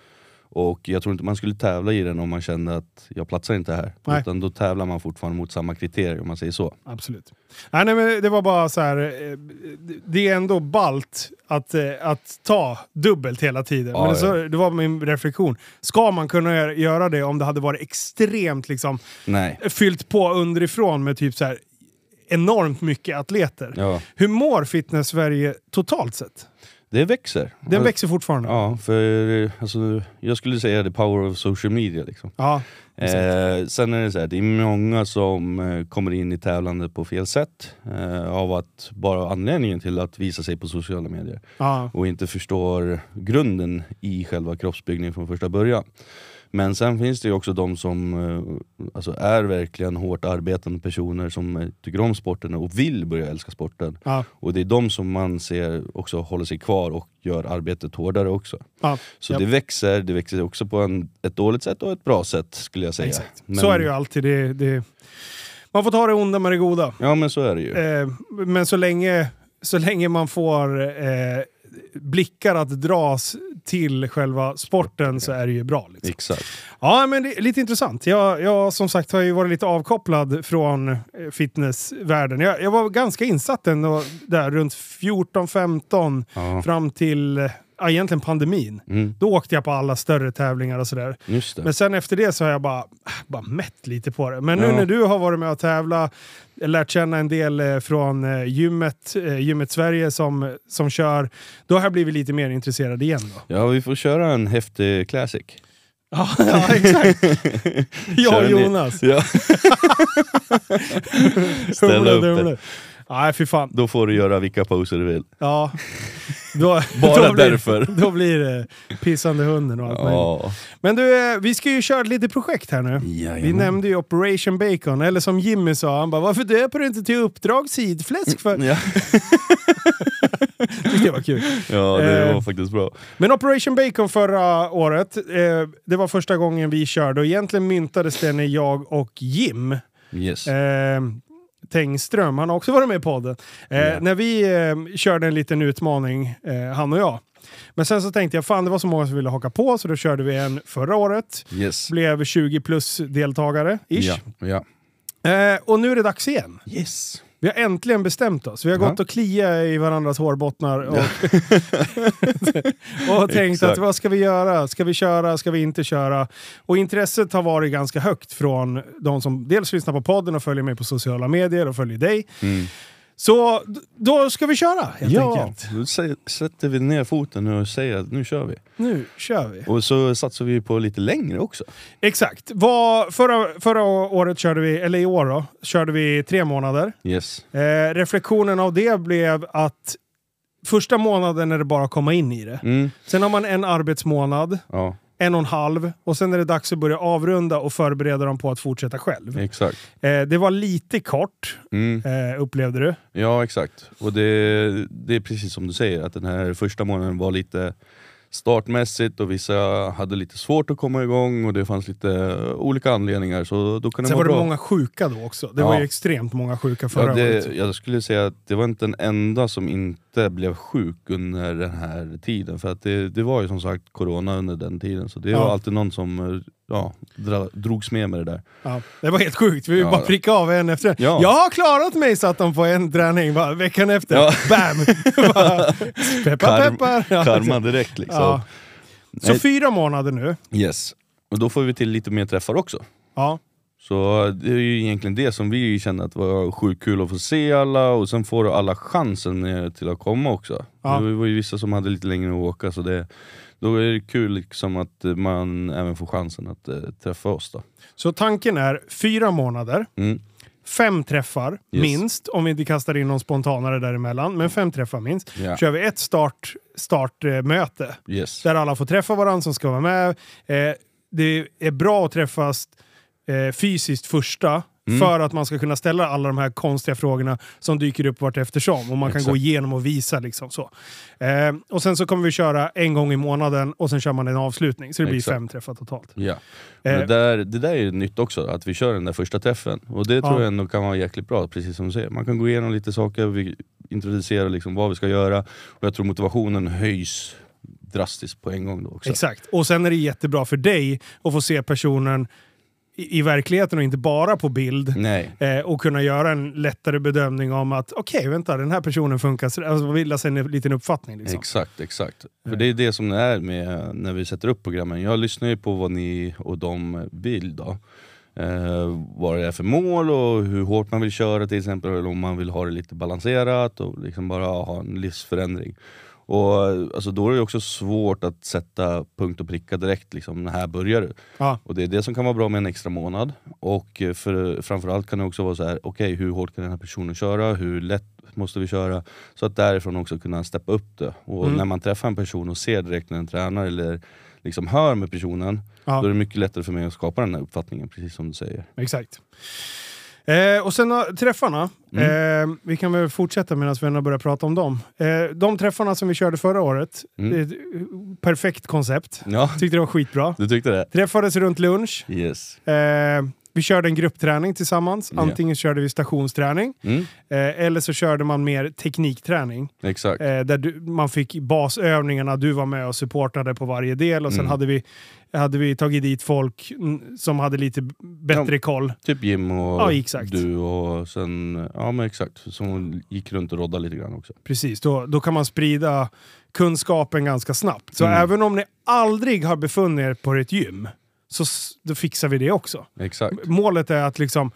B: Och jag tror inte man skulle tävla i den om man kände att jag platsar inte här.
A: Nej.
B: Utan då tävlar man fortfarande mot samma kriterier om man säger så.
A: Absolut. Nej, nej, men det var bara så här. eh, det- Det är ändå balt att, eh, att ta dubbelt hela tiden.
B: Ja,
A: men det, så,
B: ja.
A: det var min reflektion. Ska man kunna gö- göra det om det hade varit extremt liksom,
B: Nej.
A: fyllt på underifrån med typ så här enormt mycket atleter?
B: Ja.
A: Hur mår fitness-Sverige totalt sett?
B: Det växer. Alltså,
A: Den växer fortfarande.
B: Ja, för alltså, jag skulle säga the power of social media. Liksom.
A: Ja.
B: Eh, sen är det så här, det är många som eh, kommer in i tävlande på fel sätt eh, av att bara anledningen till att visa sig på sociala medier
A: ja.
B: och inte förstår grunden i själva kroppsbyggningen från första början. Men sen finns det ju också de som eh, alltså är verkligen hårt arbetande personer som eh, tycker om sporten och vill börja älska sporten.
A: Ja.
B: Och det är de som man ser också håller sig kvar och gör arbetet hårdare också.
A: Ja.
B: Så
A: Japp.
B: det växer, det växer också på en, ett dåligt sätt och ett bra sätt skulle jag säga.
A: Exakt.
B: Men,
A: Så är det ju alltid. Det, det... Man får ta det onda med det goda.
B: Ja men så är det ju.
A: Eh, men så länge, så länge man får eh, blickar att dras till själva sporten så är det ju bra. Liksom.
B: Exakt.
A: Ja, men det är lite intressant. Jag, jag som sagt har ju varit lite avkopplad från eh, fitnessvärlden. Jag, jag var ganska insatt ändå där runt 14-15
B: Ja.
A: fram till eh, ja, egentligen pandemin.
B: Mm,
A: Då åkte jag på alla större tävlingar och sådär.
B: just det.
A: Men sen efter det så har jag bara, bara mätt lite på det. Men nu
B: Ja.
A: när du har varit med och tävlat, lärt känna en del eh, från eh, gymmet, eh, gymmet Sverige som, som kör, då har jag blivit lite mer intresserad igen då.
B: Ja vi får köra en häftig classic.
A: Ja, ja exakt. Jag
B: Kör
A: och
B: ni-
A: Jonas.
B: Ja. Ställa
A: Humle,
B: upp det.
A: dumle. Nej, fy fan.
B: Då får du göra vilka poser du vill.
A: Ja. Då,
B: Bara
A: då blir,
B: därför.
A: Då blir det pissande hunden och allt möjligt.
B: Ja.
A: Men du, eh, vi ska ju köra lite projekt här nu.
B: Mm.
A: Vi nämnde ju Operation Bacon, eller som Jimmy sa, han bara “Varför döper du inte till Uppdrag sidfläsk?” för?
B: Ja.
A: Tyckte Det var kul.
B: ja, det
A: Eh.
B: var faktiskt bra.
A: Men Operation Bacon förra året, eh, det var första gången vi körde och egentligen myntades det när jag och Jim
B: Yes.
A: eh, Tengström, han har också varit med i podden, eh,
B: Ja.
A: när vi eh, körde en liten utmaning, eh, han och jag. Men sen så tänkte jag, fan det var så många som ville haka på, så då körde vi en förra året.
B: Yes.
A: Blev 20 plus deltagare, ish.
B: Ja. ja.
A: Eh, och nu är det dags igen.
B: Yes.
A: Vi har äntligen bestämt oss. Vi har
B: Ja.
A: gått och kliat i varandras hårbottnar och, och tänkt
B: Exakt.
A: att vad ska vi göra? Ska vi köra? Ska vi inte köra? Och intresset har varit ganska högt från de som dels lyssnar på podden och följer mig på sociala medier och följer dig.
B: Mm.
A: Så d- då ska vi köra helt
B: Ja,
A: enkelt.
B: då sä- sätter vi ner foten nu och säger att nu kör vi.
A: Nu kör vi.
B: Och så satsar vi på lite längre också.
A: Exakt. Vad, förra, förra året körde vi, eller i år då, körde vi tre månader.
B: Yes.
A: Eh, reflektionen av det blev att första månaden är det bara att komma in i det.
B: Mm.
A: Sen har man en arbetsmånad,
B: Ja,
A: en och en halv och sen är det dags att börja avrunda och förbereda dem på att fortsätta själv.
B: Mm. exakt.
A: Eh, det var lite kort,
B: Mm.
A: eh, upplevde du.
B: Ja, exakt. Och det, det är precis som du säger, att den här första månaden var lite startmässigt och vissa hade lite svårt att komma igång och det fanns lite olika anledningar. Så då kan det
A: Sen var
B: vara
A: det
B: bra.
A: många sjuka då också. Det var
B: Ja.
A: ju extremt många sjuka förra
B: Ja, det,
A: året.
B: jag skulle säga att det var inte en enda som inte blev sjuk under den här tiden. För att det, det var ju som sagt corona under den tiden, så det
A: Ja.
B: var alltid någon som eh, ja, dra, drogs med med det där.
A: Ja, det var helt sjukt. Vi
B: Ja.
A: bara prickade av en efter en.
B: Ja.
A: Jag har klarat mig, satt de på en träning. Bara, veckan efter,
B: Ja.
A: bam! bara, peppar,
B: Karm-
A: peppar. Ja,
B: Karma direkt liksom.
A: Ja. Så
B: Nej.
A: fyra månader nu.
B: Yes. Och då får vi till lite mer träffar också.
A: Ja.
B: Så det är ju egentligen det som vi kände att var sjukt kul att få se alla och sen får alla chansen eh, till att komma också.
A: Ja.
B: Det var ju vissa som hade lite längre att åka så det, då är det kul liksom att eh, man även får chansen att eh, träffa oss då.
A: Så tanken är fyra månader.
B: Mm.
A: Fem träffar
B: Yes.
A: minst, om vi inte kastar in någon spontanare däremellan. Men fem träffar minst.
B: Ja.
A: kör vi ett start, startmöte
B: Yes.
A: där alla får träffa varandra som ska vara med. Eh, det är bra att träffas eh, fysiskt första
B: Mm.
A: för att man ska kunna ställa alla de här konstiga frågorna som dyker upp vart eftersom. Och man kan
B: Exakt.
A: gå igenom och visa liksom så. Eh, och sen så kommer vi köra en gång i månaden och sen kör man en avslutning. Så det blir
B: Exakt.
A: fem träffar totalt.
B: Ja.
A: Eh,
B: Men Det, där, det där är ju nytt också, att vi kör den där första träffen. Och det tror
A: Ja.
B: jag ändå kan vara jäkligt bra, precis som du säger. Man kan gå igenom lite saker, vi introducerar liksom vad vi ska göra. Och jag tror motivationen höjs drastiskt på en gång då också.
A: Exakt. Och sen är det jättebra för dig att få se personen i, i verkligheten och inte bara på bild.
B: Nej.
A: Eh, och kunna göra en lättare bedömning om att okej, vänta, den här personen funkar. så- Alltså bilda sig en liten uppfattning. Liksom.
B: Exakt, exakt. För
A: Mm.
B: det är det som det är med när vi sätter upp programmen. Jag lyssnar ju på vad ni och de vill då. Eh, vad det är för mål och hur hårt man vill köra till exempel, eller om man vill ha det lite balanserat och liksom bara ha en livsförändring. Och alltså, då är det också svårt att sätta punkt och pricka direkt, liksom, här börjar du.
A: Ja.
B: Och det är det som kan vara bra med en extra månad. Och eh, för, framförallt kan det också vara så här, okej hur hårt kan den här personen köra? Hur lätt måste vi köra? Så att därifrån också kunna steppa upp det. Och
A: Mm.
B: när man träffar en person och ser direkt när den tränar eller liksom hör med personen,
A: Ja.
B: då är det mycket lättare för mig att skapa den här uppfattningen, precis som du säger.
A: Exakt. Eh, och sen har- träffarna.
B: Mm.
A: Eh, vi kan väl fortsätta medan vi ändå börjar prata om dem. Eh, de träffarna som vi körde förra året.
B: Mm.
A: det är ett perfekt koncept.
B: Ja,
A: Tyckte det var skitbra.
B: du tyckte det?
A: Träffades runt lunch.
B: Yes.
A: Eh, vi körde en gruppträning tillsammans.
B: Ja.
A: Antingen körde vi stationsträning
B: Mm,
A: eh, eller så körde man mer teknikträning.
B: exakt.
A: Eh, där du, man fick basövningarna, du var med och supportade på varje del och sen
B: Mm.
A: hade, vi, hade vi tagit dit folk mm, som hade lite b- bättre koll.
B: Typ Jim och
A: Ja, exakt.
B: du och sen, ja men exakt, som gick runt och roddade lite grann också.
A: Precis, då, då kan man sprida kunskapen ganska snabbt. Så
B: Mm.
A: även om ni aldrig har befunnit er på ett gym, så s- då fixar vi det också.
B: Exakt.
A: Målet är att liksom,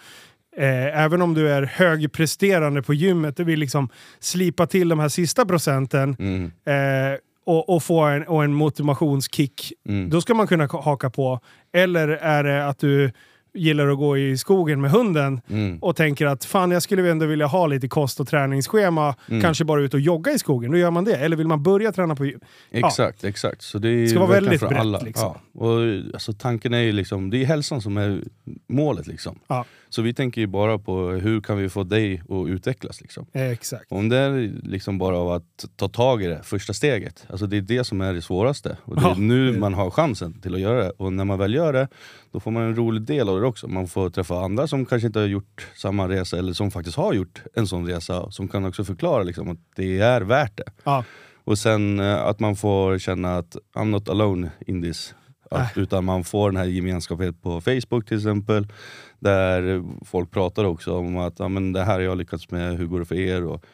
A: eh, även om du är högpresterande på gymmet, du vill liksom slipa till de här sista procenten
B: Mm,
A: eh, och, och få en, och en motivationskick
B: mm.
A: Då ska man kunna ka- haka på. Eller är det att du gillar att gå i skogen med hunden
B: Mm.
A: och tänker att fan jag skulle ändå vilja ha lite kost och träningsschema. Kanske bara ut och jogga i skogen, då gör man det. Eller vill man börja träna på gym? Ja.
B: Exakt, exakt. Så det är
A: Ska vara
B: verkligen
A: väldigt
B: för
A: brett,
B: alla.
A: liksom.
B: Ja. Och, alltså, tanken är ju liksom, det är hälsan som är målet liksom.
A: Ja,
B: Så vi tänker ju bara på hur kan vi få dig att utvecklas liksom.
A: eh, exakt.
B: Om det är liksom bara av att ta tag i det första steget, alltså det är det som är det svåraste. Och det är
A: Ja.
B: nu man har chansen till att göra det. Och när man väl gör det, då får man en rolig del av det också. Man får träffa andra som kanske inte har gjort samma resa, eller som faktiskt har gjort en sån resa, som kan också förklara liksom, att det är värt det.
A: Ja,
B: Och sen eh, att man får känna att I'm not alone in this.
A: Ah.
B: Att, utan man får den här gemenskapen på Facebook till exempel. Där folk pratar också om att ja, men det här har jag lyckats med, hur går det för er? Och,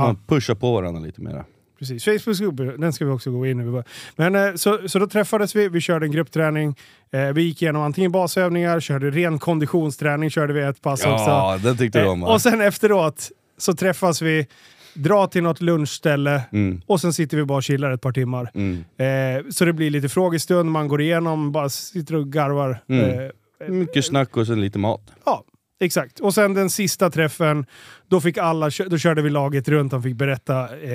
A: Ja.
B: man pushar på varandra lite mer.
A: precis. Facebookgrupper, den ska vi också gå in i. Men eh, så, så då träffades vi, vi körde en gruppträning. Eh, vi gick igenom antingen basövningar, körde ren konditionsträning, körde vi ett pass också.
B: den tyckte du om
A: Eh,
B: va?
A: Och sen efteråt så träffas vi, drar till något lunchställe
B: Mm,
A: och sen sitter vi bara och chillar ett par timmar.
B: mm.
A: Eh, så det blir lite frågestund, man går igenom, bara sitter och garvar.
B: Mm.
A: Eh,
B: Mycket snack och sen lite mat.
A: ja, exakt. Och sen den sista träffen, då, fick alla, kö- då körde vi laget runt, de fick berätta eh,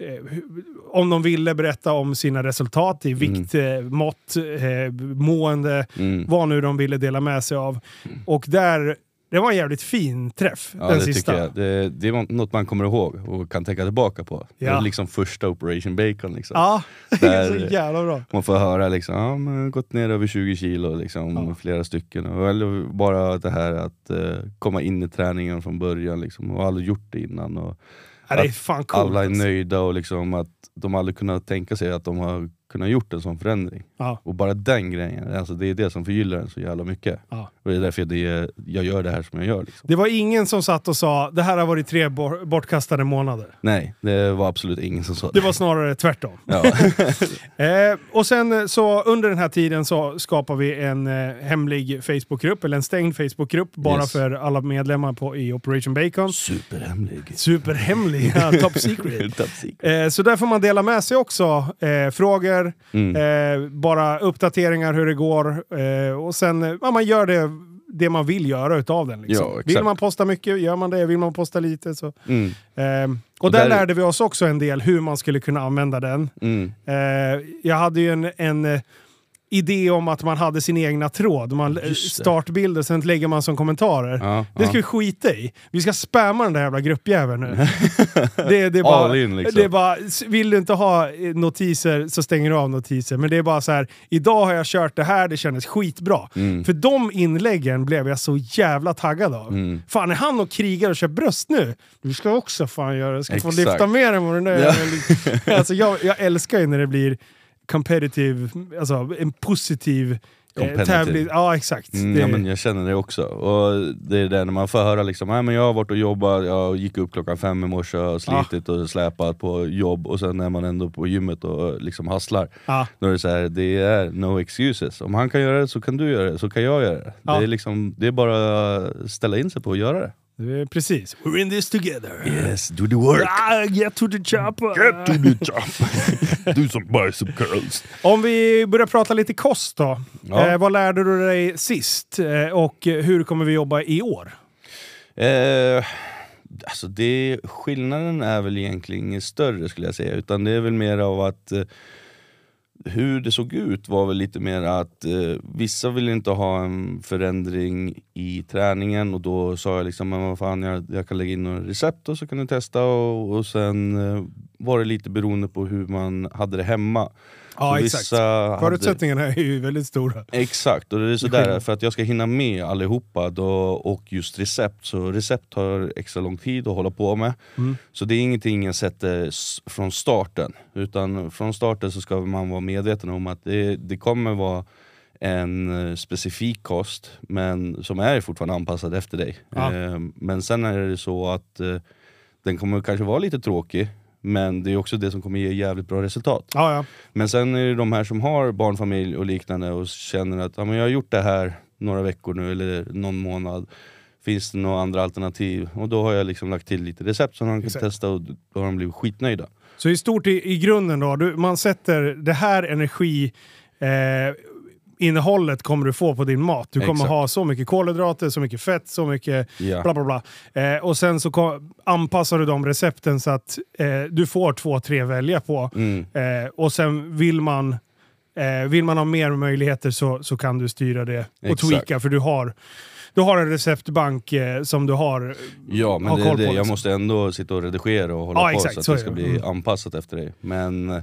A: eh, hu- om de ville berätta om sina resultat i vikt, eh, mått, eh, mående,
B: Mm.
A: vad nu de ville dela med sig av. Och där, det var en jävligt fin träff,
B: Ja,
A: den
B: det,
A: sista.
B: tycker jag. Det, det är något man kommer ihåg och kan tänka tillbaka på. Det
A: Ja.
B: är liksom första Operation Bacon. Liksom.
A: Ja, det är
B: Där-
A: så jävla bra.
B: Man får höra liksom, ja, men gått ner över 20 kilo, liksom,
A: Ja.
B: flera stycken. Och- Eller bara det här att eh, komma in i träningen från början liksom, och aldrig gjort det innan. Och
A: Ja, det är fan coolt.
B: alla är
A: alltså.
B: nöjda och liksom att de aldrig kunnat tänka sig att de har kunnat gjort en sån förändring.
A: Ja.
B: Och bara den grejen, alltså, det är det som förgyller en så jävla mycket.
A: Ja.
B: Och det är därför det, jag gör det här som jag gör. Liksom.
A: Det var ingen som satt och sa det här har varit tre bor- bortkastade månader.
B: Nej, det var absolut ingen som sa
A: Det
B: det.
A: var snarare tvärtom.
B: Ja.
A: Eh, och sen eh, så under den här tiden så skapar vi en eh, hemlig Facebookgrupp, eller en stängd Facebookgrupp, bara
B: Yes.
A: för alla medlemmar på, i Operation Bacon.
B: Superhemlig.
A: Superhemlig, ja, top secret.
B: Top secret.
A: Eh, så där får man dela med sig också. Eh, frågor,
B: Mm.
A: eh, bara uppdateringar hur det går. Eh, och sen, eh, ja, man gör det, det man vill göra utav den. Liksom.
B: Ja, exakt.
A: vill man posta mycket, gör man det. Vill man posta lite så
B: Mm.
A: Ehm, och där,
B: Där-
A: lärde vi oss också en del hur man skulle kunna använda den.
B: Mm.
A: Eh, jag hade ju en, en eh, idé om att man hade sin egna tråd. Man eh,
B: Just det.
A: startbild och sen lägger man som kommentarer.
B: Ja,
A: Det
B: ja.
A: ska vi skita i. Vi ska spamma den där jävla gruppjäveln nu. det, det, är bara,
B: All in, liksom.
A: det är bara, s- vill du inte ha eh, notiser så stänger du av notiser. Men det är bara så här, idag har jag kört det här, det kändes skitbra.
B: Mm.
A: För de inläggen blev jag så jävla taggad av.
B: Mm.
A: Fan, är han och krigar och kör bröst nu? Du ska också fan göra det. Du ska få
B: Exakt.
A: lyfta mer än vad den där
B: Ja.
A: jäveln- alltså, jag, jag älskar ju när det blir competitive, alltså en positiv eh,
B: Competitive.
A: tävling. Ja, exakt.
B: Mm,
A: det,
B: ja, men jag känner det också. Och det är det när man får höra liksom, "Nej, men jag har varit och jobbat, jag gick upp klockan fem i morse, jag har slitit och släpat på jobb och sen är man ändå på gymmet och eh, liksom hustlar.
A: ja.
B: Då är det så här, det är no excuses. Om han kan göra det så kan du göra det, så kan jag göra det.
A: Ja.
B: Det, är liksom, det är bara att ställa in sig på att göra det.
A: Det är Eh, precis. We're in this together.
B: Yes, do the work!
A: Ah, get to the chopper!
B: Get to the job! do some bicep curls!
A: Om vi börjar prata lite kost då.
B: Ja.
A: Eh, vad lärde du dig sist eh, och hur kommer vi jobba i år?
B: Eh, alltså det, skillnaden är väl egentligen ingen större skulle jag säga, utan det är väl mer av att eh, hur det såg ut var väl lite mer att eh, vissa ville inte ha en förändring i träningen och då sa jag liksom, men vad fan jag, jag kan lägga in några recept och så kan du testa och, och sen eh, var det lite beroende på hur man hade det hemma.
A: Ja,
B: Så
A: exakt.
B: vissa hade-
A: Förutsättningarna är ju väldigt stora.
B: Exakt, och det är sådär
A: skillnad.
B: för att jag ska hinna med allihopa då, och just recept, så recept tar extra lång tid att hålla på med.
A: Mm.
B: Så det är ingenting jag sätter s- från starten, utan från starten så ska man vara medveten om att det, det kommer vara en eh, specifik kost, men som är fortfarande anpassad efter dig.
A: Ja.
B: Eh, Men sen är det så att eh, den kommer kanske vara lite tråkig, men det är också det som kommer ge jävligt bra resultat.
A: Ja, ja.
B: Men sen är det de här som har barnfamilj och liknande och känner att ja, men jag har gjort det här några veckor nu eller någon månad. Finns det några andra alternativ? Och då har jag liksom lagt till lite recept som de kan
A: Exakt.
B: testa och då har de blivit skitnöjda.
A: Så i stort i, i grunden då, du, man sätter det här energi... Eh, innehållet kommer du få på din mat. Du kommer
B: Exakt.
A: ha så mycket kolhydrater, så mycket fett, så mycket
B: Ja.
A: bla bla bla. Eh, och sen så kom, anpassar du de recepten så att eh, du får två, tre välja på.
B: Mm.
A: Eh, och sen vill man, eh, vill man ha mer möjligheter så, så kan du styra det och
B: Exakt.
A: tweaka för du har, du har en receptbank eh, som du har.
B: Ja,
A: Ha
B: men det,
A: koll
B: är
A: på
B: det, jag
A: liksom.
B: måste ändå sitta och redigera och hålla
A: Ja,
B: på
A: exakt,
B: så att
A: så är
B: det ska
A: det.
B: bli
A: Mm.
B: anpassat efter dig. Men eh,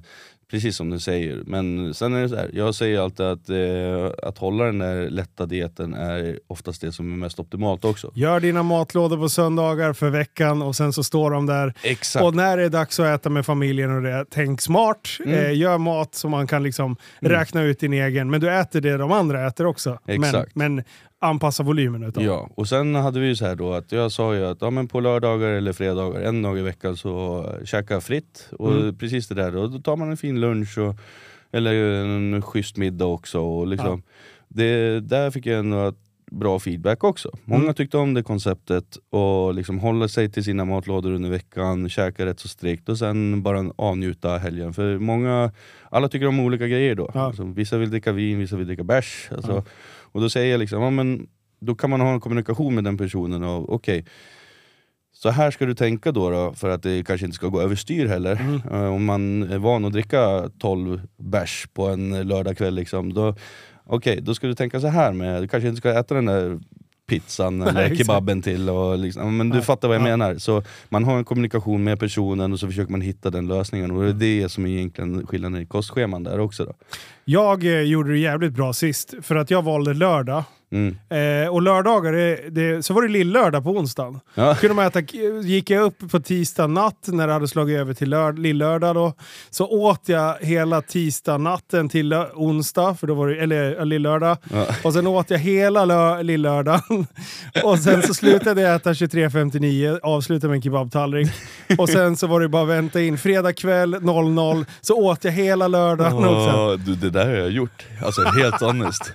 B: precis som du säger, men sen är det så här. jag säger alltid att eh, att hålla den där lätta dieten är oftast det som är mest optimalt också.
A: Gör dina matlådor på söndagar för veckan och sen så står de där.
B: Exakt.
A: Och när det är dags att äta med familjen och det, tänk smart.
B: Mm.
A: Eh, gör mat så man kan liksom räkna ut din egen. Men du äter det de andra äter också. Men,
B: Exakt.
A: men anpassa volymen utav. det.
B: Ja, och sen hade vi ju så här då att jag sa ju att ja, men på lördagar eller fredagar, en dag i veckan så eh, käka fritt. Och
A: Mm.
B: precis det där, och då tar man en fin lunch och, eller en schysst middag också. Och liksom, det, där fick jag ändå ett bra feedback också. Många
A: Mm.
B: tyckte om det konceptet och liksom hålla sig till sina matlådor under veckan, käka rätt så strikt och sen bara avnjuta helgen. För många, alla tycker om olika grejer då.
A: Ja.
B: Alltså, vissa vill dricka vin, vissa vill dricka bärs. Alltså,
A: Ja.
B: Och då säger jag liksom, ja, men då kan man ha en kommunikation med den personen av okej, så här ska du tänka då, då för att det kanske inte ska gå överstyr heller.
A: Mm.
B: Eh, om man är van att dricka 12 bärs på en lördagkväll, liksom, då, okej, då ska du tänka så här med, du kanske inte ska äta den där pizzan eller
A: exakt.
B: kebaben till. Och liksom, men du
A: Nej.
B: fattar vad jag
A: Ja.
B: menar. Så man har en kommunikation med personen och så försöker man hitta den lösningen. Och det
A: Mm.
B: är det som är egentligen skillnaden i kostscheman där också. Då.
A: Jag eh, gjorde det jävligt bra sist för att jag valde lördag.
B: Mm.
A: Eh, och lördagar, det, det, så var det lillördag på onsdagen.
B: Ja.
A: Kunde man äta, gick jag upp på tisdag natt när det hade slagit över till lör, lillördag då. Så åt jag hela tisdag natten till lö- onsdag, för då var det, eller ja, lillördag.
B: Ja.
A: Och sen åt jag hela lö, lillördagen. Och sen så slutade jag äta 23.59, avslutade med en kebabtallrik. Och sen så var det bara att vänta in. Fredag kväll 00, så åt jag hela lördagen också.
B: Ja, du, det där har jag gjort. Alltså helt honest.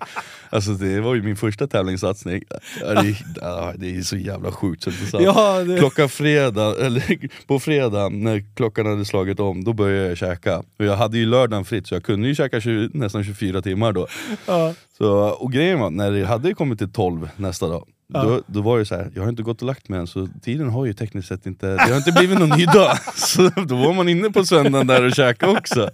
B: Alltså det var ju min första tävlingssatsning. Ja, Det, är- ja, det är så jävla sjukt så det är sant.
A: Ja, det-
B: Klockan fredag, eller på fredag när klockan hade slagit om, då började jag käka. Och jag hade ju lördagen fritt så jag kunde ju käka 20, nästan 24 timmar då.
A: Ja.
B: Så, och grejen var, när det hade kommit till 12 nästa dag, då, då var det så här, jag har inte gått och lagt mig än så tiden har ju tekniskt sett inte, det har inte blivit någon ny dag. Så då var man inne på söndagen där och käkade också.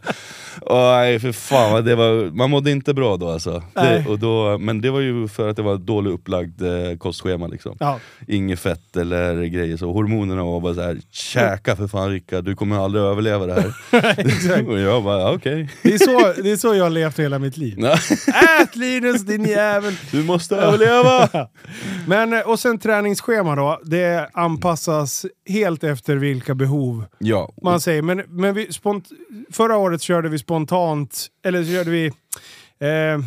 B: Och, nej för fan, vad det var, man mådde inte bra då alltså. Det,
A: Nej.
B: och då. Men det var ju för att det var ett dåligt upplagd eh, kostschema liksom.
A: Ja.
B: Inget fett eller grejer så, hormonerna var bara så här, käka för fan Rickard, du kommer aldrig överleva det här. och jag bara, "Ja, okej.
A: Det är, så, det är så jag har levt hela mitt liv. Ät Linus din jävel!
B: Du måste överleva!
A: Men, eh, och sen träningsschema då. Det anpassas helt efter vilka behov
B: Ja,
A: man säger. Men, men vi spont- förra året körde vi spontant, eller så körde vi eh,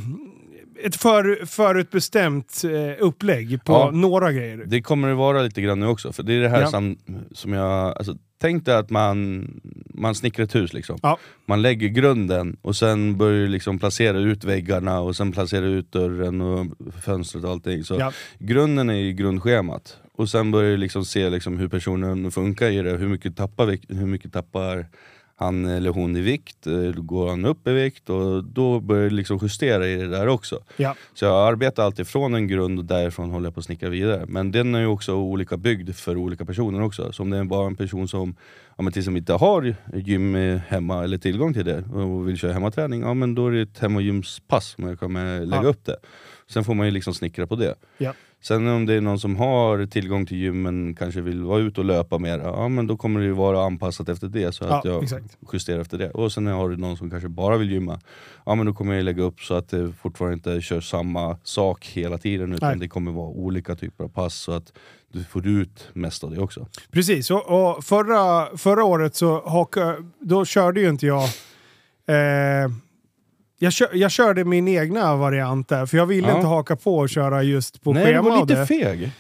A: ett för, förutbestämt eh, upplägg på
B: Ja.
A: några grejer.
B: Det kommer det vara lite grann nu också, för det är det här
A: Ja.
B: som, som jag... Alltså, tänk dig att man, man snickrar ett hus, liksom.
A: Ja.
B: man lägger grunden och sen börjar du liksom placera ut väggarna och sen placera ut dörren och fönstret och allting. Så
A: Ja.
B: Grunden är ju grundschemat. Och sen börjar du liksom se liksom hur personen funkar i det, hur mycket tappar, vik- hur mycket tappar han eller hon i vikt, eh, går han upp i vikt och då börjar du liksom justera i det där också.
A: Ja.
B: Så jag arbetar alltid från en grund och därifrån håller jag på att snickra vidare. Men den är ju också olika byggd för olika personer också. Så om det är bara en person som, ja, men till som inte har gym eh, hemma eller tillgång till det och vill köra hemmaträning, ja men då är det ett hem och gymspass som jag kommer lägga
A: Ja.
B: upp det. Sen får man ju liksom snickra på det.
A: Ja.
B: Sen om det är någon som har tillgång till gym men kanske vill vara ute och löpa mer, ja men då kommer det ju vara anpassat efter det så att
A: Ja,
B: jag
A: exakt.
B: justerar efter det. Och sen har du någon som kanske bara vill gymma, ja men då kommer jag ju lägga upp så att det fortfarande inte kör samma sak hela tiden utan
A: Nej.
B: det kommer vara olika typer av pass så att du får ut mest av det också.
A: Precis, och, och förra, förra året så haka, då körde ju inte jag... Eh, jag, kö, jag körde min egna variant där, för jag ville
B: Ja.
A: inte haka på och köra just på
B: Nej, du
A: schema
B: var
A: av
B: lite
A: det.
B: feg.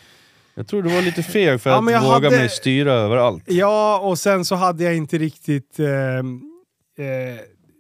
B: Jag tror du var lite feg för
A: Ja,
B: att
A: men jag
B: våga
A: hade-
B: mig styra över allt.
A: Ja, och sen så hade jag inte riktigt... Eh, eh,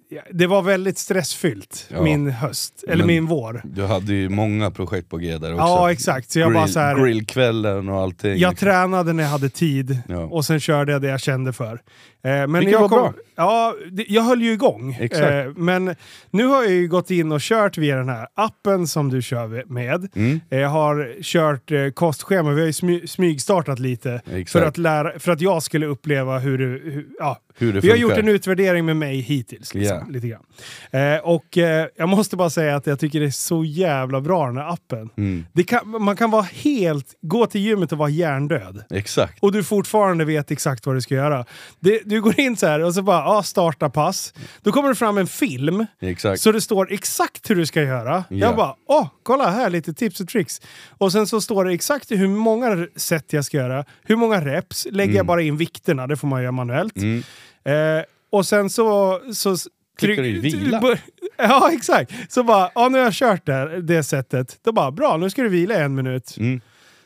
A: ja, det var väldigt stressfyllt,
B: Ja.
A: min höst. Eller
B: Men-
A: min vår.
B: Du hade ju många projekt på g där också.
A: Ja, exakt. Så jag bara så här,
B: Grillkvällen och allting.
A: Jag tränade när jag hade tid
B: Ja.
A: och sen körde jag det jag kände för. Eh, men
B: Vilket
A: jag
B: var bra.
A: Ja, det, jag höll ju igång. Eh,
B: Exakt.
A: men nu har jag ju gått in och kört via den här appen som du kör med.
B: Mm.
A: Eh, Jag har kört eh, kostschema, vi har ju smy, smygstartat lite.
B: Exakt.
A: För att, lära, för att jag skulle uppleva hur det... Hur, ja.
B: Hur det
A: Vi har
B: funkar.
A: gjort en utvärdering med mig hittills. Liksom,
B: Ja.
A: lite grann. Eh, och eh, jag måste bara säga att jag tycker det är så jävla bra den här appen.
B: Mm.
A: Det kan, man kan vara helt, gå till gymmet och vara hjärndöd.
B: Exakt.
A: Och du fortfarande vet exakt vad du ska göra. Det, du går in så här och så bara, ja, starta pass. Då kommer det fram en film.
B: Exakt.
A: Så det står exakt hur du ska göra.
B: Ja.
A: Jag bara, åh, kolla här, lite tips och tricks. Och sen så står det exakt hur många sätt jag ska göra, hur många reps, lägger jag bara in vikterna, det får man göra manuellt.
B: Mm.
A: Eh, och sen så... så s-
B: Klickar
A: tryck-
B: du i vila?
A: bör- Ja, exakt. Så bara, ja nu har jag kört det, det sättet. Då bara, bra, nu ska du vila i en minut.
B: Mm.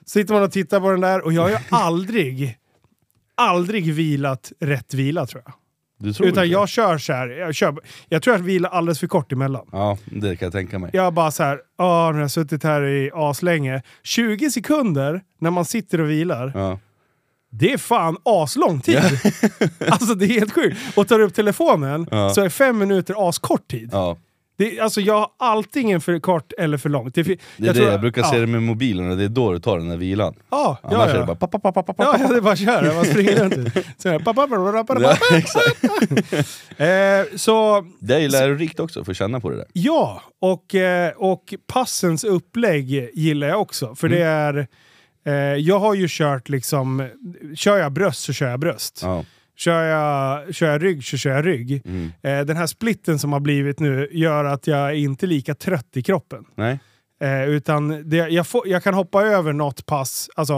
A: Sitter man och tittar på den där och jag har ju aldrig, aldrig vilat rätt vila tror jag.
B: Du tror
A: Utan
B: inte?
A: jag kör så här, jag, kör, jag tror jag vilar alldeles för kort emellan.
B: Ja, det kan jag tänka mig.
A: Jag bara så här, ja nu har jag suttit här i aslänge. 20 sekunder när man sitter och vilar,
B: Ja.
A: det är fan aslång tid. alltså det är helt sjukt. Och tar upp telefonen
B: Ja.
A: så är fem minuter askort tid.
B: Ja.
A: Det, alltså jag har antingen för kort eller för långt. Det, fi-
B: Det är jag det, jag brukar se det med mobilen och det är då du tar den där vilan.
A: Ja, ja,
B: Annars
A: ja.
B: är det bara pa, pa, pa, pa, pa, pa.
A: Ja, ja, det är bara att köra. Man springer runt. Så, här, pa, pa, pa, pa, pa, pa.
B: Ja, exakt.
A: Eh, så
B: Det är ju lärorikt också, för att känna på det där.
A: ja, och, eh, och passens upplägg gillar jag också. För
B: Mm.
A: det är... Eh, jag har ju kört liksom... Kör jag bröst så kör jag bröst.
B: Ja.
A: Kör jag, kör jag rygg så kör jag rygg.
B: Mm.
A: Eh, den här splitten som har blivit nu gör att jag är inte är lika trött i kroppen.
B: Nej.
A: Eh, utan det, jag, får, jag kan hoppa över något pass, alltså,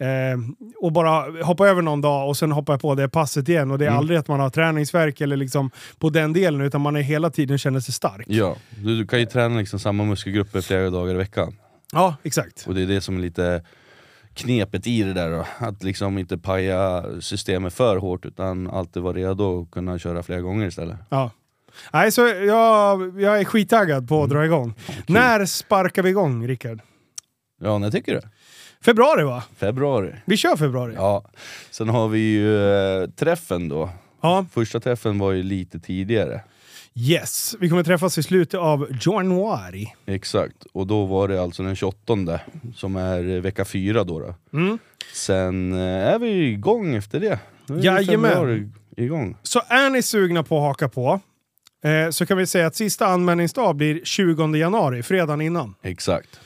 A: eh, och bara hoppa över någon dag och sen hoppar jag på det passet igen. Och det är
B: Mm.
A: aldrig att man har träningsvärk eller liksom på den delen, utan man är hela tiden känner sig stark.
B: Ja. Du, du kan ju träna liksom samma muskelgrupper flera dagar i veckan.
A: Ja, exakt.
B: Och det är det som är lite knepet i det där då. Att liksom inte paja systemet för hårt utan alltid vara redo och kunna köra flera gånger istället.
A: Ja. Nej, så jag, jag är skittaggad på att dra igång. När sparkar vi igång, Rickard?
B: Ja, när tycker du?
A: Februari va?
B: Februari.
A: Vi kör februari.
B: Ja. Sen har vi ju eh, träffen då.
A: Ja.
B: Första träffen var ju lite tidigare.
A: Yes, vi kommer träffas i slutet av januari.
B: Exakt, och då var det alltså den 28 som är eh, vecka fyra då. då.
A: Mm.
B: Sen eh, är vi igång efter det. Nu är vi
A: Jajamän.
B: februari igång.
A: Så är ni sugna på att haka på eh, så kan vi säga att sista anmälningsdag blir 20 januari, fredagen innan.
B: Exakt.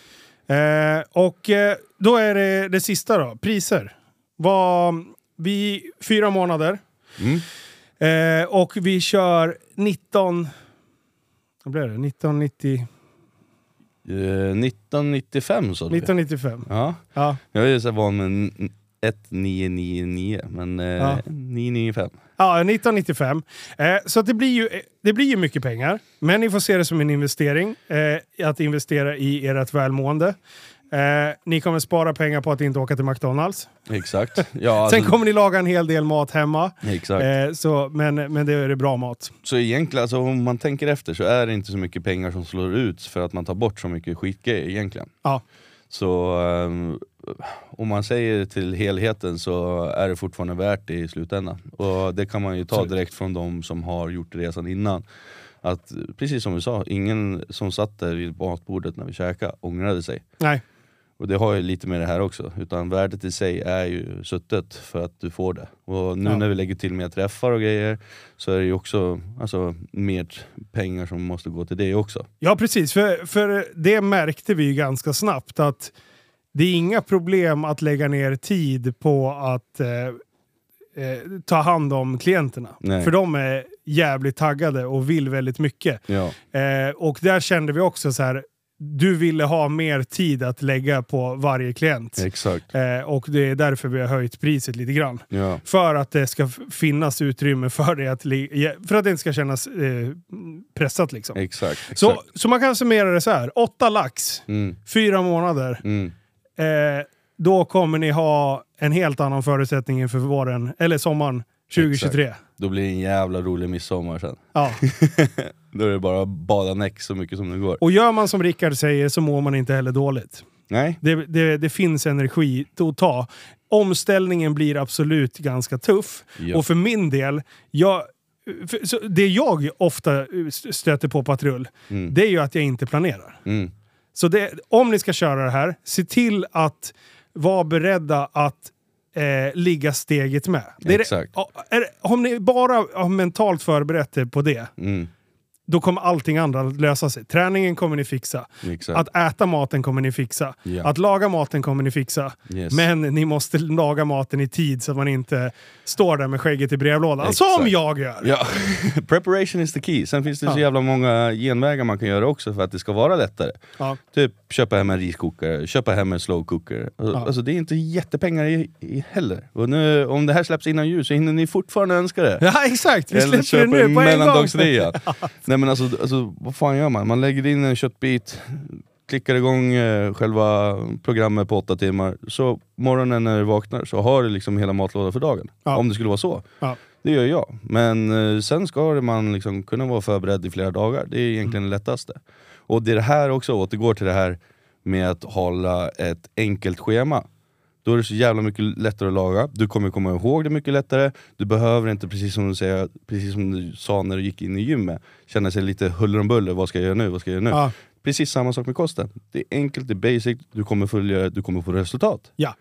A: Eh, och eh, då är det det sista då, priser. Vad- vi, fyra månader
B: Mm.
A: eh, och vi kör 19... Vad blev det? 1990,
B: Eh, 1995 sa du.
A: 1995.
B: Ja,
A: Ja.
B: jag är ju så van med n- 1999, men eh,
A: Ja.
B: 995.
A: Ja, 1995. Eh, så att det, blir ju, eh, det blir ju mycket pengar, men ni får se det som en investering. Eh, att investera i ert välmående. Eh, ni kommer spara pengar på att inte åka till McDonalds.
B: Exakt. Ja, alltså,
A: Sen kommer ni laga en hel del mat hemma.
B: Exakt.
A: Eh, så, men, men det är det bra mat.
B: Så egentligen, alltså, om man tänker efter så är det inte så mycket pengar som slår ut för att man tar bort så mycket skitgrejer egentligen.
A: Ja.
B: Så eh, om man säger till helheten så är det fortfarande värt det i slutändan. Och det kan man ju ta
A: Absolut.
B: direkt från de som har gjort resan innan. Att, precis som vi sa, ingen som satt där vid matbordet när vi käkade ångrade sig.
A: Nej,
B: Och det har ju lite med det här också, utan värdet i sig är ju suttet för att du får det. Och nu
A: Ja.
B: när vi lägger till mer träffar och grejer så är det ju också alltså, mer pengar som måste gå till det också.
A: ja precis. För, för det märkte vi ju ganska snabbt att det är inga problem att lägga ner tid på att eh, eh, ta hand om klienterna.
B: Nej.
A: För de är jävligt taggade och vill väldigt mycket.
B: Ja.
A: Eh, och där kände vi också så här, du ville ha mer tid att lägga på varje klient.
B: Exakt.
A: Eh, och det är därför vi har höjt priset lite grann.
B: Ja.
A: För att det ska f- finnas utrymme för det, att li- för att det inte ska kännas eh, pressat liksom.
B: Exakt. exakt.
A: Så, så man kan summera det så här. Åtta lax,
B: Mm,
A: fyra månader.
B: mm.
A: Eh, då kommer ni ha en helt annan förutsättning inför våren, eller sommaren 2023.
B: Då blir det en jävla rolig midsommar sen.
A: Ja.
B: Då är det bara att bada näck så mycket som det går.
A: Och gör man som Rickard säger så mår man inte heller dåligt.
B: Nej,
A: Det, det, det finns energi att ta. Omställningen blir absolut ganska tuff.
B: Ja.
A: Och för min del, jag, för, så det jag ofta stöter på patrull, det är ju att jag inte planerar.
B: Mm.
A: Så det, om ni ska köra det här, se till att vara beredda att eh, ligga steget med. Det är det-
B: Exakt.
A: ja, är, det- om ni bara har mentalt förberett er på det,
B: mm.
A: då kommer allting andra att lösa sig. Träningen kommer ni fixa.
B: exakt.
A: Att äta maten kommer ni fixa.
B: Ja.
A: Att laga maten kommer ni fixa.
B: Yes.
A: Men ni måste laga maten i tid så att man inte står där med skägget i brevlådan.
B: Exakt.
A: Som jag gör!
B: Ja, preparation is the key. Sen finns det så
A: Ja.
B: jävla många genvägar man kan göra också för att det ska vara lättare.
A: Ja.
B: Typ köpa hem en riskokare, köpa hem en slow cooker. Alltså,
A: Ja.
B: alltså, det är inte jättepengar i, i heller. Och nu, om det här släpps innan jul så hinner ni fortfarande önska det.
A: Ja, exakt! Vi
B: Eller
A: släpper det
B: köpa
A: nu
B: en
A: på en gång!
B: mellandagsrea. Nej men alltså, alltså, vad fan gör man? Man lägger in en köttbit, klickar igång eh, själva programmet på åtta timmar. Så morgonen när du vaknar så har du liksom hela matlådan för dagen.
A: Ja.
B: Om det skulle vara så.
A: Ja.
B: Det gör jag. Men eh, sen ska det man liksom kunna vara förberedd i flera dagar. Det är
A: Mm.
B: egentligen det lättaste. Och det är det här också återgår till det här med att hålla ett enkelt schema. Då är det så jävla mycket lättare att laga, du kommer komma ihåg det mycket lättare, du behöver inte, precis som du, säger, precis som du sa när du gick in i gymmet, känna sig lite huller om buller, vad ska jag göra nu, vad ska jag göra nu?
A: Ja.
B: Precis samma sak med kosten. Det är enkelt, det är basic, du kommer följa det, du kommer få resultat.
A: Ja.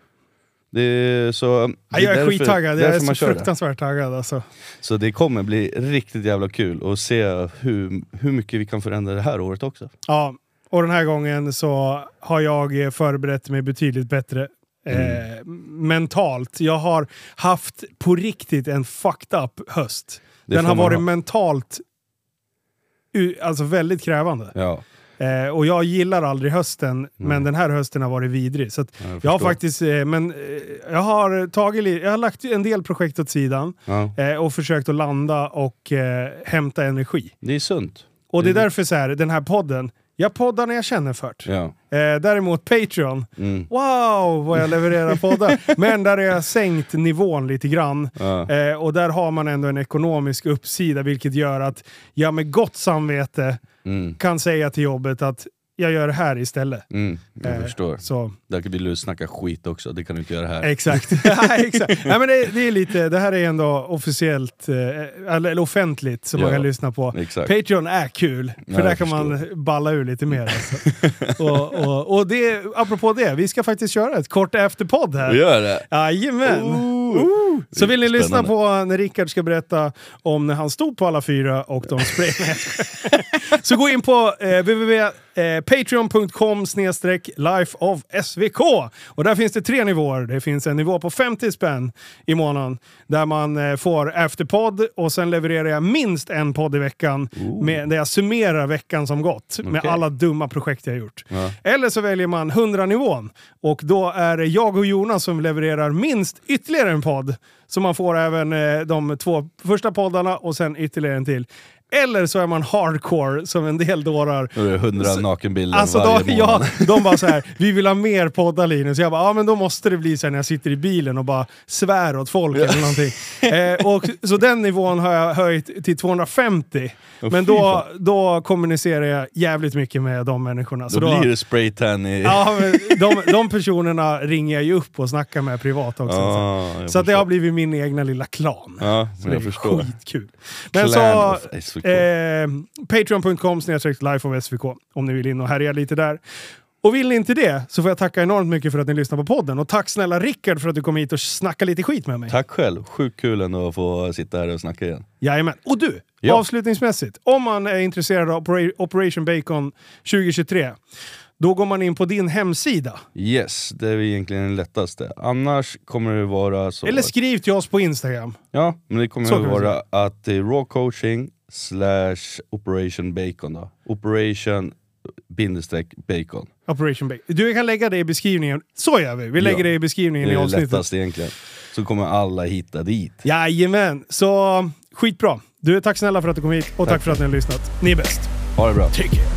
B: Det är, så, det
A: Ja, jag är
B: därför-
A: skittaggad, jag
B: därför
A: är så
B: man kör det.
A: fruktansvärt taggad alltså.
B: Så det kommer bli riktigt jävla kul att se hur, hur mycket vi kan förändra det här året också.
A: Ja, och den här gången så har jag eh, förberett mig betydligt bättre. Eh,
B: Mm.
A: mentalt. Jag har haft på riktigt en fucked up höst.
B: Det
A: Den
B: får
A: har
B: man
A: varit
B: ha.
A: mentalt u- alltså väldigt krävande.
B: Ja,
A: Eh, och jag gillar aldrig hösten, men den här hösten har varit vidrig. Så att
B: Mm. jag
A: jag har
B: förstår.
A: faktiskt, eh, men eh, jag har tagit, li- jag har lagt en del projekt åt sidan
B: ja.
A: eh, och försökt att landa och eh, hämta energi.
B: Det är sunt.
A: Och det är
B: Mm.
A: därför så här, den här podden, jag poddar när jag känner för det.
B: Ja.
A: Eh, däremot Patreon,
B: Mm.
A: wow vad jag levererar poddar. Men där har jag sänkt nivån lite grann.
B: Ja.
A: Eh, och där har man ändå en ekonomisk uppsida vilket gör att jag med gott samvete
B: Mm.
A: kan säga till jobbet att jag gör det här istället.
B: Mm. Jag
A: Eh,
B: förstår.
A: Så,
B: Där vill du snacka skit också, det kan du inte göra här.
A: exakt. Ja, exakt. Nej, men det, det, är lite, det här är ändå officiellt, eh, eller, eller offentligt, som man
B: Ja.
A: kan lyssna på.
B: Exakt.
A: Patreon är kul, för
B: Ja,
A: där
B: jag
A: kan man balla ur lite mer. Alltså. och och, och det, apropå det, vi ska faktiskt köra ett kort efterpodd här.
B: Vi gör det!
A: Jajamän!
B: Oh. Ooh.
A: Ooh. Så vill ni
B: Spännande.
A: lyssna på när Rickard ska berätta om när han stod på alla fyra och de spray. Nej, jag skojar. Så gå in på eh, www.patreon.com lifeofsvk och där finns det tre nivåer. Det finns en nivå på 50 spänn i månaden där man eh, får efterpodd och sen levererar jag minst en podd i veckan med, där jag summerar veckan som gått med
B: Okej.
A: alla dumma projekt jag gjort.
B: Ja.
A: Eller så väljer man 100-nivån och då är det jag och Jonas som levererar minst ytterligare en podd. Så man får även eh, de två första poddarna och sen ytterligare en till. Eller så är man hardcore som en del dårar.
B: Då är det hundra nakenbilder
A: Alltså då,
B: varje månad.
A: ja, de bara så här, vi vill ha mer poddar Linus. Jag bara, ja men då måste det bli så här när jag sitter i bilen och bara svär åt folk eller någonting. Eh, och, så den nivån har jag höjt till 250.
B: Åh,
A: men
B: fy
A: då,
B: fan.
A: då kommunicerar jag jävligt mycket med de människorna.
B: Då,
A: Så då,
B: blir det spraytan i...
A: ja, men de, de personerna ringer jag ju upp och snackar med privat också.
B: Ah,
A: så
B: jag
A: att det
B: förstår.
A: har blivit min egna lilla klan.
B: Ja, men
A: Det
B: jag
A: är
B: förstår.
A: skitkul. Men
B: Clan
A: så,
B: of SVK.
A: eh, Patreon.com snedstreck life of SVK om ni vill in och härja lite där. Och vill ni inte det så får jag tacka enormt mycket för att ni lyssnar på podden. Och tack snälla Rickard för att du kom hit och snackade lite skit med mig.
B: Tack själv, sjukt kul ändå att få sitta här och snacka igen.
A: Jajamän. Och du,
B: Ja.
A: avslutningsmässigt. Om man är intresserad av Opera- Operation Bacon 2023, då går man in på din hemsida.
B: Yes, det är egentligen det lättaste. Annars kommer det vara så...
A: Eller
B: att-
A: skriv till oss på Instagram.
B: Ja, men det kommer
A: Så
B: att
A: kan vi
B: vara att det är raw coaching slash operation bacon då. Operation bindestreck bacon.
A: Operation Bacon. Du kan lägga det i beskrivningen. Så gör vi. Vi lägger
B: Ja.
A: det i
B: Det
A: beskrivningen i
B: är det
A: avsnittet.
B: lättaste egentligen. Så kommer alla hitta dit.
A: Jajamän, så skitbra. Du, tack snälla för att du kom hit och tack, för att ni har lyssnat. Ni är bäst.
B: Ha det bra.
A: Take it.